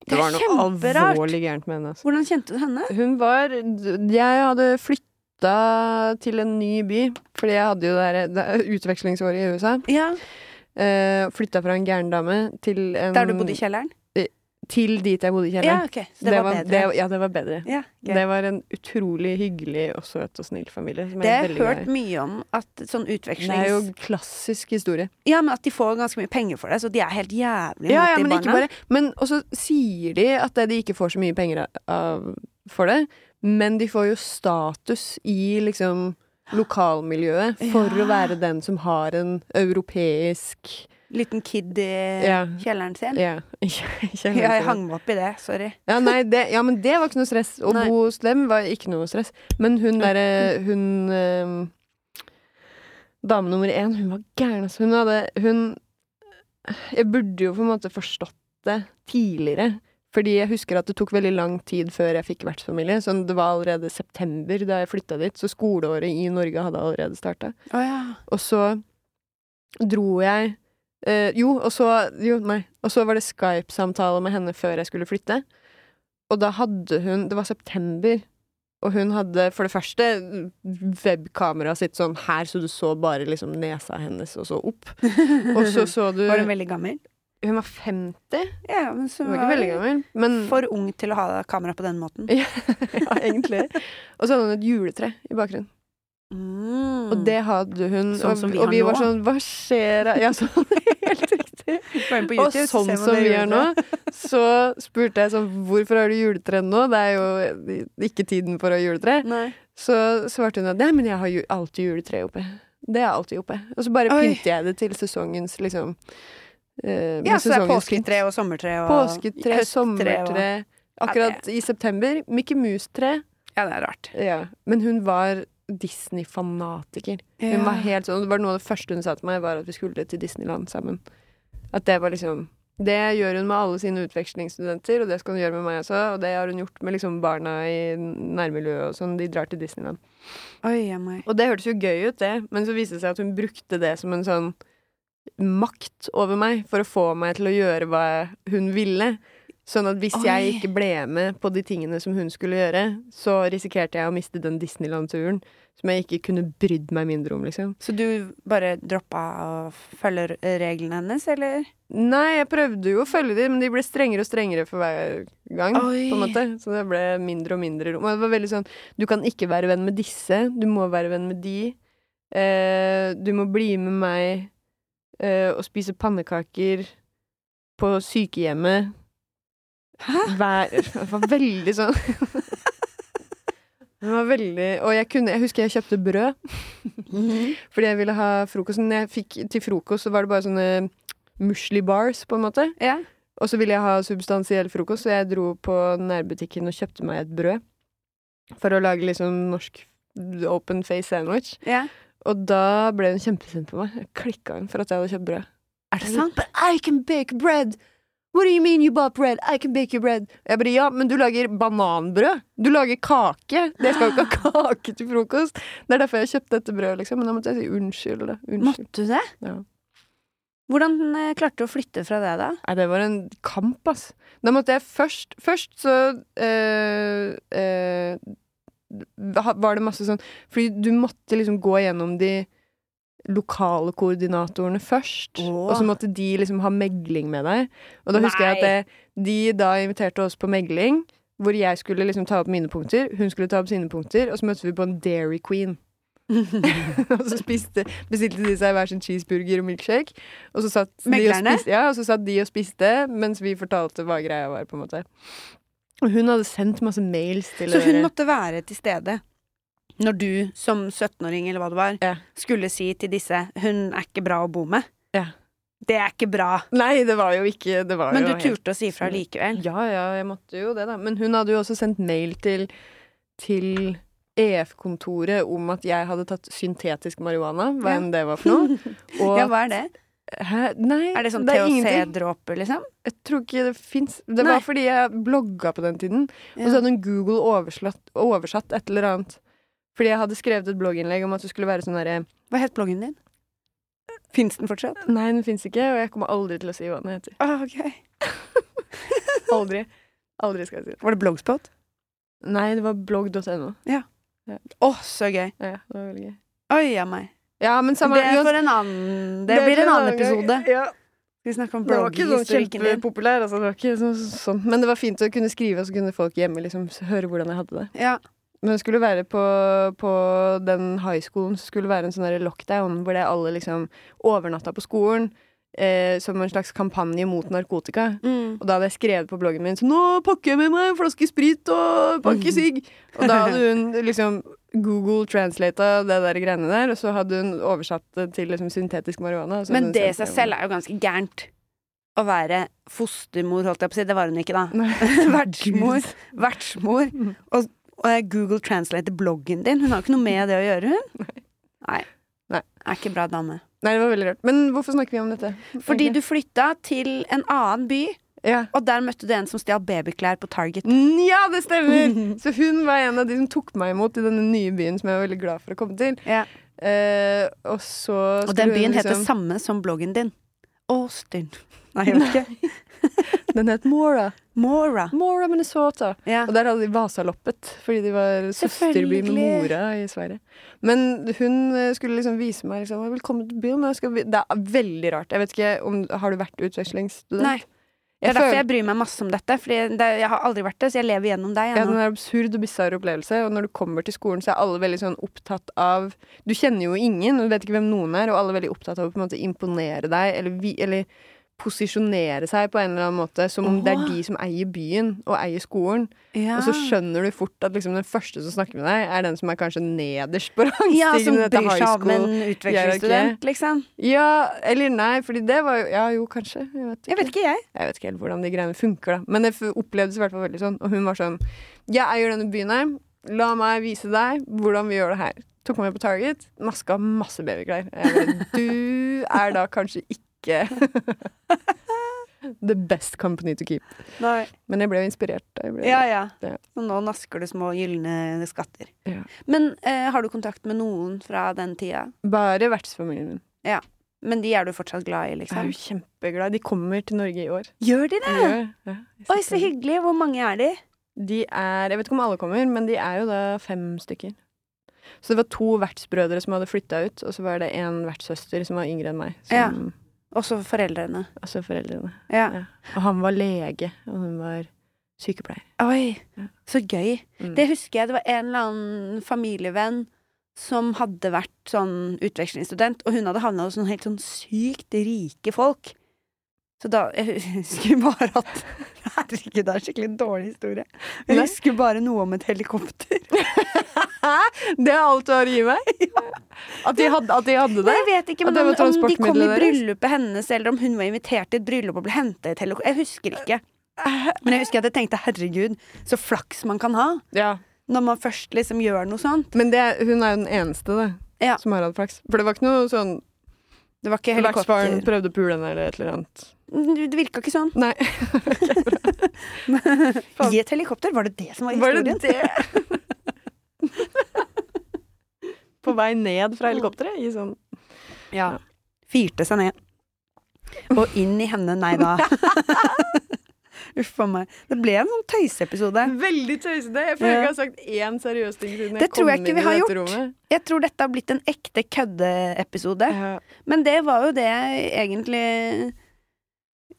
Speaker 1: Det
Speaker 2: Det var
Speaker 1: er
Speaker 2: noe
Speaker 1: kjemperart.
Speaker 2: alvorlig gærent med henne. Altså.
Speaker 1: Hvordan kjente du henne?
Speaker 2: Hun var Jeg hadde flytta til en ny by, fordi jeg hadde jo det der- det utvekslingsåret i USA.
Speaker 1: Ja,
Speaker 2: Uh, flytta fra en gæren dame til en
Speaker 1: Der du bodde i kjelleren?
Speaker 2: Til dit jeg bodde i
Speaker 1: Ja,
Speaker 2: Um, kjelleren.
Speaker 1: ok. Så det, var, bedre.
Speaker 2: det- ja, det var bedre.
Speaker 1: ja, gøy.
Speaker 2: Det var en utrolig hyggelig og søt og snill familie. Som
Speaker 1: Det
Speaker 2: jeg
Speaker 1: har
Speaker 2: er
Speaker 1: jeg
Speaker 2: veldig
Speaker 1: hørt
Speaker 2: glad i.
Speaker 1: mye om, at sånn
Speaker 2: Det er jo
Speaker 1: utvekslings...
Speaker 2: klassisk historie.
Speaker 1: Ja, men at de får ganske mye penger for det, så de er helt jævlig
Speaker 2: Ja,
Speaker 1: mot
Speaker 2: ja,
Speaker 1: de
Speaker 2: men ikke
Speaker 1: barna.
Speaker 2: bare Men også sier de at det- de ikke får så mye penger av for det, men de får jo status i liksom lokalmiljøet for
Speaker 1: Ja.
Speaker 2: å være den som har en europeisk
Speaker 1: Liten kid i
Speaker 2: Ja.
Speaker 1: kjelleren sin.
Speaker 2: Ja, [laughs] kjenner
Speaker 1: Ja, jeg
Speaker 2: til det.
Speaker 1: hang meg opp i det, sorry.
Speaker 2: Ja, nei, det, ja, men det var ikke noe stress. Å
Speaker 1: Nei.
Speaker 2: bo hos dem var ikke noe stress. Men hun derre Hun ehm, Dame nummer én, hun var gæren, altså. Hun hadde Hun Jeg burde jo på en måte forstått det tidligere. Fordi jeg husker at det tok veldig lang tid før jeg fikk vertsfamilie. Så det var allerede september da jeg flytta dit, så skoleåret i Norge hadde allerede starta.
Speaker 1: Å ja. [laughs]
Speaker 2: Og så dro jeg eh, Jo, og så Jo, nei. Og så var det Skype-samtale med henne før jeg skulle flytte. Og da hadde hun Det var september. Og hun hadde for det første webkameraet sitt sånn her, så du så bare liksom nesa hennes, og så opp. Og så så du
Speaker 1: Var hun veldig gammel?
Speaker 2: Hun var 50.
Speaker 1: Ja, men så
Speaker 2: Hun var ikke veldig gammel, men
Speaker 1: for ung til å ha kamera på den måten.
Speaker 2: [laughs] ja, egentlig. Og så hadde hun et juletre i bakgrunnen.
Speaker 1: Mm.
Speaker 2: Og det hadde hun.
Speaker 1: Sånn
Speaker 2: og,
Speaker 1: som vi
Speaker 2: og
Speaker 1: har
Speaker 2: vi
Speaker 1: nå.
Speaker 2: var sånn Hva skjer? da?» Ja,
Speaker 1: [laughs]
Speaker 2: sånn. Helt riktig.
Speaker 1: Gå inn på
Speaker 2: Og
Speaker 1: YouTube, så
Speaker 2: sånn
Speaker 1: ser man
Speaker 2: som
Speaker 1: det
Speaker 2: vi er nå,
Speaker 1: juletreet. [laughs]
Speaker 2: så spurte jeg sånn Hvorfor har du juletre nå? Det er jo ikke tiden for å ha juletre.
Speaker 1: Nei.
Speaker 2: Så svarte hun at nei, men jeg har ju alltid juletre oppe. Det er alltid oppe. Og så bare
Speaker 1: Oi.
Speaker 2: pynter jeg det til sesongens, liksom. eh, med
Speaker 1: Ja, så det er
Speaker 2: sesongens pynt.
Speaker 1: påsketre og sommertre og
Speaker 2: Påsketre,
Speaker 1: høsttre
Speaker 2: sommertre Akkurat i september. Mickey Mouse-tre.
Speaker 1: og- Ja, det er rart.
Speaker 2: Ja. Men hun var Disney-fanatiker. Hun var helt sånn, det var Noe av det første hun sa til meg, var at vi skulle til Disneyland sammen. At det var liksom Det gjør hun med alle sine utvekslingsstudenter, og det skal hun gjøre med meg også. Og det har hun gjort med liksom barna i nærmiljøet og sånn. De drar til Disneyland.
Speaker 1: Oi, ja, meg.
Speaker 2: Og det hørtes jo gøy ut, det, men så viste det seg at hun brukte det som en sånn makt over meg for å få meg til å gjøre hva hun ville. Sånn at hvis jeg
Speaker 1: Oi.
Speaker 2: ikke ble med på de tingene som hun skulle gjøre, så risikerte jeg å miste den Disneyland-turen som jeg ikke kunne brydd meg mindre om, liksom.
Speaker 1: Så du bare droppa å følge reglene hennes, eller?
Speaker 2: Nei, jeg prøvde jo å følge dem, men de ble strengere og strengere for hver gang.
Speaker 1: Oi.
Speaker 2: På en måte. Så det ble mindre og mindre rom. Og det var veldig sånn Du kan ikke være venn med disse, du må være venn med de. Eh, du må bli med meg eh, og spise pannekaker på sykehjemmet.
Speaker 1: Hæ? [laughs]
Speaker 2: Hver Det var veldig sånn Det var veldig Og jeg kunne Jeg husker jeg kjøpte brød. Fordi jeg ville ha frokosten. Jeg fikk, til frokost så var det bare sånne musli bars, på en måte.
Speaker 1: Ja.
Speaker 2: Og så ville jeg ha substansiell frokost, så jeg dro på nærbutikken og kjøpte meg et brød. For å lage liksom norsk open face sandwich.
Speaker 1: ja.
Speaker 2: Og da ble hun kjempesint på meg. Jeg klikka hun for at jeg hadde kjøpt brød.
Speaker 1: Er det sant?
Speaker 2: But I can bake bread! What do you mean you bought bread? I can bake you bread. Jeg bare, ja, men du lager bananbrød. Du lager kake. Jeg skal jo ikke ha [laughs] kake til frokost. Det er derfor jeg kjøpte dette brødet, liksom. Men da måtte jeg si unnskyld, da. Unnskyld.
Speaker 1: Måtte du det?
Speaker 2: Ja.
Speaker 1: Hvordan eh, klarte du å flytte fra det, da?
Speaker 2: Nei, det var en kamp, ass. Da måtte jeg først Først så eh, eh, ha- var det masse sånn Fordi du måtte liksom gå gjennom de lokale koordinatorene først.
Speaker 1: Åh.
Speaker 2: Og så måtte de liksom ha megling med deg. Og da husker jeg at
Speaker 1: Nei.
Speaker 2: det, de da inviterte oss på megling, hvor jeg skulle liksom ta opp mine punkter, hun skulle ta opp sine punkter, og så møttes vi på en Dairy Queen. [laughs] og så spiste, bestilte de seg hver sin cheeseburger og milkshake. Og så satt de og
Speaker 1: Meglerne?
Speaker 2: spiste, ja, og så satt de og spiste mens vi fortalte hva greia var. på en måte Og hun hadde sendt masse mails til
Speaker 1: Så hun
Speaker 2: dere.
Speaker 1: måtte være til stede når du som 17-åring eller hva det var,
Speaker 2: Ja.
Speaker 1: skulle si til disse 'hun er ikke bra å bo med'?
Speaker 2: Ja.
Speaker 1: Det er ikke bra!
Speaker 2: Nei, det var jo ikke det var
Speaker 1: Men
Speaker 2: jo
Speaker 1: du
Speaker 2: helt-
Speaker 1: turte å si fra likevel?
Speaker 2: Ja, ja, jeg måtte jo det, da. Men hun hadde jo også sendt mail til, til EF-kontoret om at jeg hadde tatt syntetisk marihuana, hva
Speaker 1: Ja.
Speaker 2: enn det var for noe. Og
Speaker 1: [laughs] Ja, hva er det?
Speaker 2: Hæ? Nei,
Speaker 1: Er det sånn
Speaker 2: ingenting.
Speaker 1: THC-dråper, liksom?
Speaker 2: Jeg tror ikke det fins. Det
Speaker 1: Nei.
Speaker 2: var fordi jeg blogga på den tiden, og
Speaker 1: Ja.
Speaker 2: så hadde hun Google oversatt, oversatt et eller annet. Fordi jeg hadde skrevet et blogginnlegg om at det skulle være sånn derre
Speaker 1: Hva het bloggen din? Fins den fortsatt?
Speaker 2: [laughs] Nei, den fins ikke, og jeg kommer aldri til å si hva den heter.
Speaker 1: Ah, ok.
Speaker 2: Aldri. Aldri skal jeg si det.
Speaker 1: Var det blogspot?
Speaker 2: Nei, det var blogg.no.
Speaker 1: Å, så gøy.
Speaker 2: Ja, det var veldig gøy.
Speaker 1: Oi a meg.
Speaker 2: Ja, men samme
Speaker 1: det, er for en annen, det blir en annen episode.
Speaker 2: Ja,
Speaker 1: Vi snakker om
Speaker 2: det var ikke sånn
Speaker 1: blogghistorikken din.
Speaker 2: kjempepopulær, altså. Det var ikke sånn, sånn. Men det var fint å kunne skrive, og så kunne folk hjemme liksom s- høre hvordan jeg hadde det.
Speaker 1: Ja.
Speaker 2: Men det skulle være på, på den highschoolen så skulle det være en sånn der lockdown hvor det alle liksom overnatta på skolen eh, som en slags kampanje mot narkotika.
Speaker 1: Mm.
Speaker 2: Og da hadde jeg skrevet på bloggen min Så nå pakker jeg med meg en flaske sprit og en
Speaker 1: Mm.
Speaker 2: pakke sigg Og da hadde
Speaker 1: [laughs]
Speaker 2: hun liksom Google translata det der greiene der Og så hadde hun oversatt det til liksom syntetisk marihuana og så
Speaker 1: Men
Speaker 2: hadde hun
Speaker 1: det i
Speaker 2: sendt
Speaker 1: seg selv er jo ganske gærent. Å være fostermor, holdt jeg på å si. Det var hun ikke, da.
Speaker 2: Nei.
Speaker 1: [laughs] Vertsmor. Vertsmor.
Speaker 2: Mm.
Speaker 1: Og, og jeg Google translate bloggen din. Hun har jo ikke noe med det å gjøre, hun. Nei.
Speaker 2: Nei.
Speaker 1: Er ikke bra dame.
Speaker 2: Nei, det var veldig rart Men hvorfor snakker vi om dette?
Speaker 1: Fordi
Speaker 2: egentlig?
Speaker 1: du flytta til en annen by,
Speaker 2: Ja
Speaker 1: og der møtte du en som stjal babyklær på Target.
Speaker 2: ja, det stemmer!
Speaker 1: [laughs]
Speaker 2: Så hun var en av de som tok meg imot i denne nye byen som jeg var veldig glad for å komme til.
Speaker 1: Ja.
Speaker 2: Eh, og så
Speaker 1: Og
Speaker 2: skulle
Speaker 1: den
Speaker 2: hun
Speaker 1: byen heter
Speaker 2: liksom-
Speaker 1: samme som bloggen din. Austin. [laughs] Nei, jeg vet ikke.
Speaker 2: Den het Mora.
Speaker 1: Mora.
Speaker 2: Mora, Minnesota.
Speaker 1: Ja.
Speaker 2: Og der hadde de Vasaloppet, fordi de var søsterby med
Speaker 1: Selvfølgelig.
Speaker 2: mora i Sverige. Men hun eh, skulle liksom vise meg liksom, Velkommen til byen. jeg Skal vi... Det er veldig rart. Jeg vet ikke om Har du vært utvekslingsstudent?
Speaker 1: Nei. Det er derfor jeg bryr meg masse om dette, for jeg har aldri vært det, så jeg lever gjennom deg.
Speaker 2: ja,
Speaker 1: jeg
Speaker 2: den
Speaker 1: nå.
Speaker 2: er absurd og bisarr opplevelse. Og når du kommer til skolen, så er alle veldig sånn opptatt av Du kjenner jo ingen, og du vet ikke hvem noen er, og alle er veldig opptatt av å på en måte imponere deg, eller, vi, eller posisjonere seg på en eller annen måte, som om det er
Speaker 1: Åh.
Speaker 2: de som eier byen og eier skolen.
Speaker 1: Ja.
Speaker 2: Og så skjønner du fort at liksom den første som snakker med deg, er den som er kanskje nederst på rangstigen.
Speaker 1: Ja, som
Speaker 2: i dette
Speaker 1: bryr seg
Speaker 2: high
Speaker 1: om en
Speaker 2: school.
Speaker 1: utvekslingsstudent, liksom.
Speaker 2: Ja, eller nei, fordi det var jo Ja, jo, kanskje. Jeg vet ikke,
Speaker 1: Jeg vet ikke, jeg.
Speaker 2: Jeg vet ikke helt hvordan de greiene funker, da. Men det f- opplevdes i hvert fall veldig sånn. Og hun var sånn Jeg eier denne byen her. La meg vise deg hvordan vi gjør det her. Tok meg med på Target. Naska masse babyklær. Jeg bare, Du er da kanskje ikke [laughs] The best company to keep. Men jeg ble jo inspirert. da Jeg ble
Speaker 1: Ja, ja.
Speaker 2: Ja.
Speaker 1: Så nå nasker du små gylne skatter.
Speaker 2: Ja.
Speaker 1: Men eh, har du kontakt med noen fra den tida?
Speaker 2: Bare vertsfamilien min.
Speaker 1: Men de er du fortsatt glad i,
Speaker 2: Jeg er
Speaker 1: liksom?
Speaker 2: jo kjempeglad. De kommer til Norge i år.
Speaker 1: Gjør de
Speaker 2: De
Speaker 1: det?
Speaker 2: gjør det. Ja, jeg
Speaker 1: Oi,
Speaker 2: setter
Speaker 1: så
Speaker 2: dem.
Speaker 1: hyggelig. Hvor mange er de?
Speaker 2: De er Jeg vet ikke om alle kommer, men de er jo da fem stykker. Så det var to vertsbrødre som hadde flytta ut, og så var det en vertssøster som var yngre enn meg. Som,
Speaker 1: Også foreldrene.
Speaker 2: Altså foreldrene.
Speaker 1: Ja.
Speaker 2: Ja. Og han var lege, og hun var sykepleier.
Speaker 1: Oi,
Speaker 2: Ja.
Speaker 1: så gøy.
Speaker 2: Mm.
Speaker 1: Det husker jeg. Det var en eller annen familievenn som hadde vært sånn utvekslingsstudent, og hun hadde havna hos noen helt sånn sykt rike folk. Så da Jeg husker bare at [laughs] Herregud, det er en skikkelig dårlig historie. Jeg
Speaker 2: Nei.
Speaker 1: husker bare noe om et helikopter.
Speaker 2: Det er alt du har å gi
Speaker 1: [laughs]
Speaker 2: meg? At de hadde, at de hadde
Speaker 1: Nei,
Speaker 2: det?
Speaker 1: jeg vet ikke, men
Speaker 2: At det
Speaker 1: om, om de kom
Speaker 2: var
Speaker 1: i
Speaker 2: transportmiddelet deres?
Speaker 1: bryllupet hennes, eller om hun var invitert til et bryllup og ble henta i et helikopter. Jeg husker ikke. Men jeg husker at jeg tenkte herregud, så flaks man kan ha
Speaker 2: Ja.
Speaker 1: når man først liksom gjør noe sånt.
Speaker 2: Men det, hun er jo den eneste, da,
Speaker 1: Ja.
Speaker 2: som har hatt flaks. For det var ikke noe sånn
Speaker 1: Det var ikke
Speaker 2: Vertsfaren
Speaker 1: helikopter.
Speaker 2: prøvde å pule henne eller et eller annet.
Speaker 1: Det virka ikke sånn.
Speaker 2: Nei. [laughs] Faen.
Speaker 1: I et helikopter? Var det det som var
Speaker 2: Var det
Speaker 1: historien?
Speaker 2: det?
Speaker 1: [laughs]
Speaker 2: På vei ned fra helikopteret i sånn
Speaker 1: Ja. Firte seg ned. Og inn i henne, nei
Speaker 2: [laughs]
Speaker 1: da. Uff a meg. Det ble en sånn tøyseepisode.
Speaker 2: Veldig tøysete. Jeg føler ikke jeg har sagt én seriøs ting siden
Speaker 1: Det
Speaker 2: jeg kom
Speaker 1: tror jeg
Speaker 2: inn
Speaker 1: ikke
Speaker 2: i
Speaker 1: vi har
Speaker 2: dette
Speaker 1: gjort.
Speaker 2: rommet.
Speaker 1: Jeg tror dette har blitt en ekte køddeepisode.
Speaker 2: Ja.
Speaker 1: Men det var jo det jeg egentlig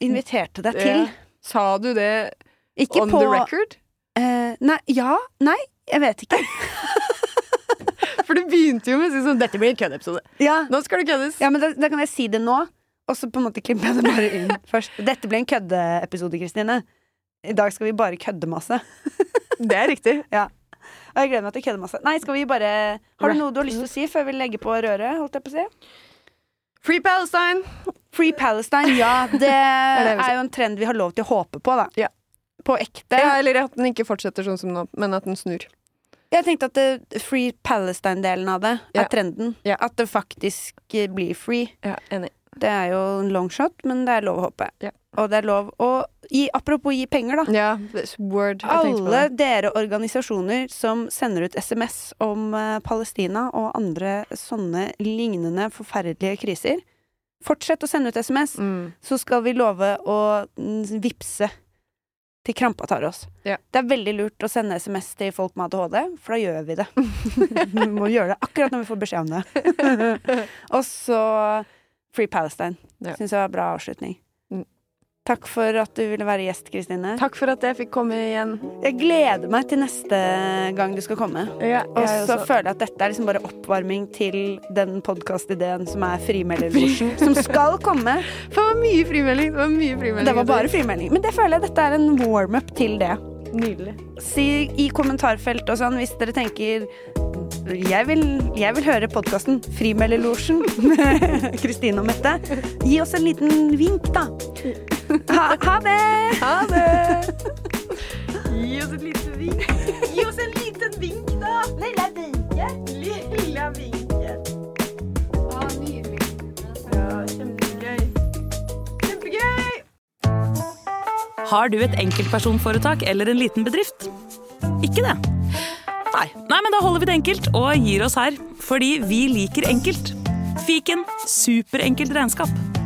Speaker 1: inviterte deg til.
Speaker 2: Ja. Sa du det
Speaker 1: Ikke
Speaker 2: on
Speaker 1: på
Speaker 2: the record?
Speaker 1: eh, Nei, ja, nei, jeg vet
Speaker 2: [laughs]
Speaker 1: ikke.
Speaker 2: For det begynte jo med å si sånn Dette blir en køddeepisode.
Speaker 1: Ja,
Speaker 2: Nå skal det køddes.
Speaker 1: ja men da, da kan jeg si det nå, og så på en måte klipper jeg det bare [laughs] inn først. Dette ble en køddeepisode, Kristine. I dag skal vi bare kødde masse.
Speaker 2: Det er riktig.
Speaker 1: Og jeg gleder meg til å kødde masse. Nei, skal vi bare Har du noe du har lyst til å si før vi legger på røret? Holdt jeg på å si?
Speaker 2: Free Palestine!
Speaker 1: Free Palestine, [laughs] ja. Det
Speaker 2: det jeg vil si.
Speaker 1: er jo en trend vi har lov til å håpe på, da.
Speaker 2: Ja.
Speaker 1: På ekte.
Speaker 2: Ja, eller at den ikke fortsetter sånn som nå, men at den snur.
Speaker 1: Jeg tenkte at eh, Free Palestine-delen av det er
Speaker 2: Ja.
Speaker 1: trenden.
Speaker 2: Ja.
Speaker 1: At det faktisk eh, blir free.
Speaker 2: Ja, enig.
Speaker 1: Det er jo en long shot, men det er lov å håpe.
Speaker 2: Ja.
Speaker 1: Og det er lov å gi Apropos gi penger, da.
Speaker 2: Ja, this word. Jeg tenkte på
Speaker 1: Alle
Speaker 2: det.
Speaker 1: dere organisasjoner som sender ut SMS om eh, Palestina og andre sånne lignende forferdelige kriser, fortsett å sende ut SMS,
Speaker 2: Mm.
Speaker 1: så skal vi love å mm, vippse til krampa tar oss.
Speaker 2: Ja.
Speaker 1: Det er veldig lurt å sende SMS til folk med ADHD, for da gjør vi
Speaker 2: [laughs]
Speaker 1: det. vi må gjøre det akkurat når vi får beskjed om det.
Speaker 2: [laughs]
Speaker 1: og så Free Palestine.
Speaker 2: Ja.
Speaker 1: Syns jeg var bra avslutning.
Speaker 2: Mm.
Speaker 1: Takk for at du ville være gjest, Kristine.
Speaker 2: Takk for at jeg fikk komme igjen.
Speaker 1: Jeg gleder meg til neste gang du skal komme.
Speaker 2: Ja,
Speaker 1: Og
Speaker 2: jeg
Speaker 1: så
Speaker 2: også.
Speaker 1: føler jeg at dette er liksom bare oppvarming til den podkastideen som er Frimelderlosjen, som skal
Speaker 2: [laughs]
Speaker 1: komme.
Speaker 2: For det var mye frimelding. Det var mye frimelding.
Speaker 1: Det var bare frimelding. Men det føler jeg dette er en warm-up til det.
Speaker 2: Nydelig.
Speaker 1: Si i kommentarfelt og sånn hvis dere tenker jeg vil, jeg vil høre podkasten Frimelderlosjen med [laughs] Kristine og Mette. Gi oss en liten vink, da. Ha, ha det!
Speaker 2: Ha det! [laughs] Gi oss et lite vink. Gi oss en liten vink, da. Lille vinket. Lille vinket. Å, nydelig. Ja, kjempegøy. Kjempegøy!
Speaker 3: Har du et enkeltpersonforetak eller en liten bedrift? Ikke det? Nei. Nei, men da holder vi det enkelt og gir oss her. Fordi vi liker enkelt. Fiken superenkelt regnskap.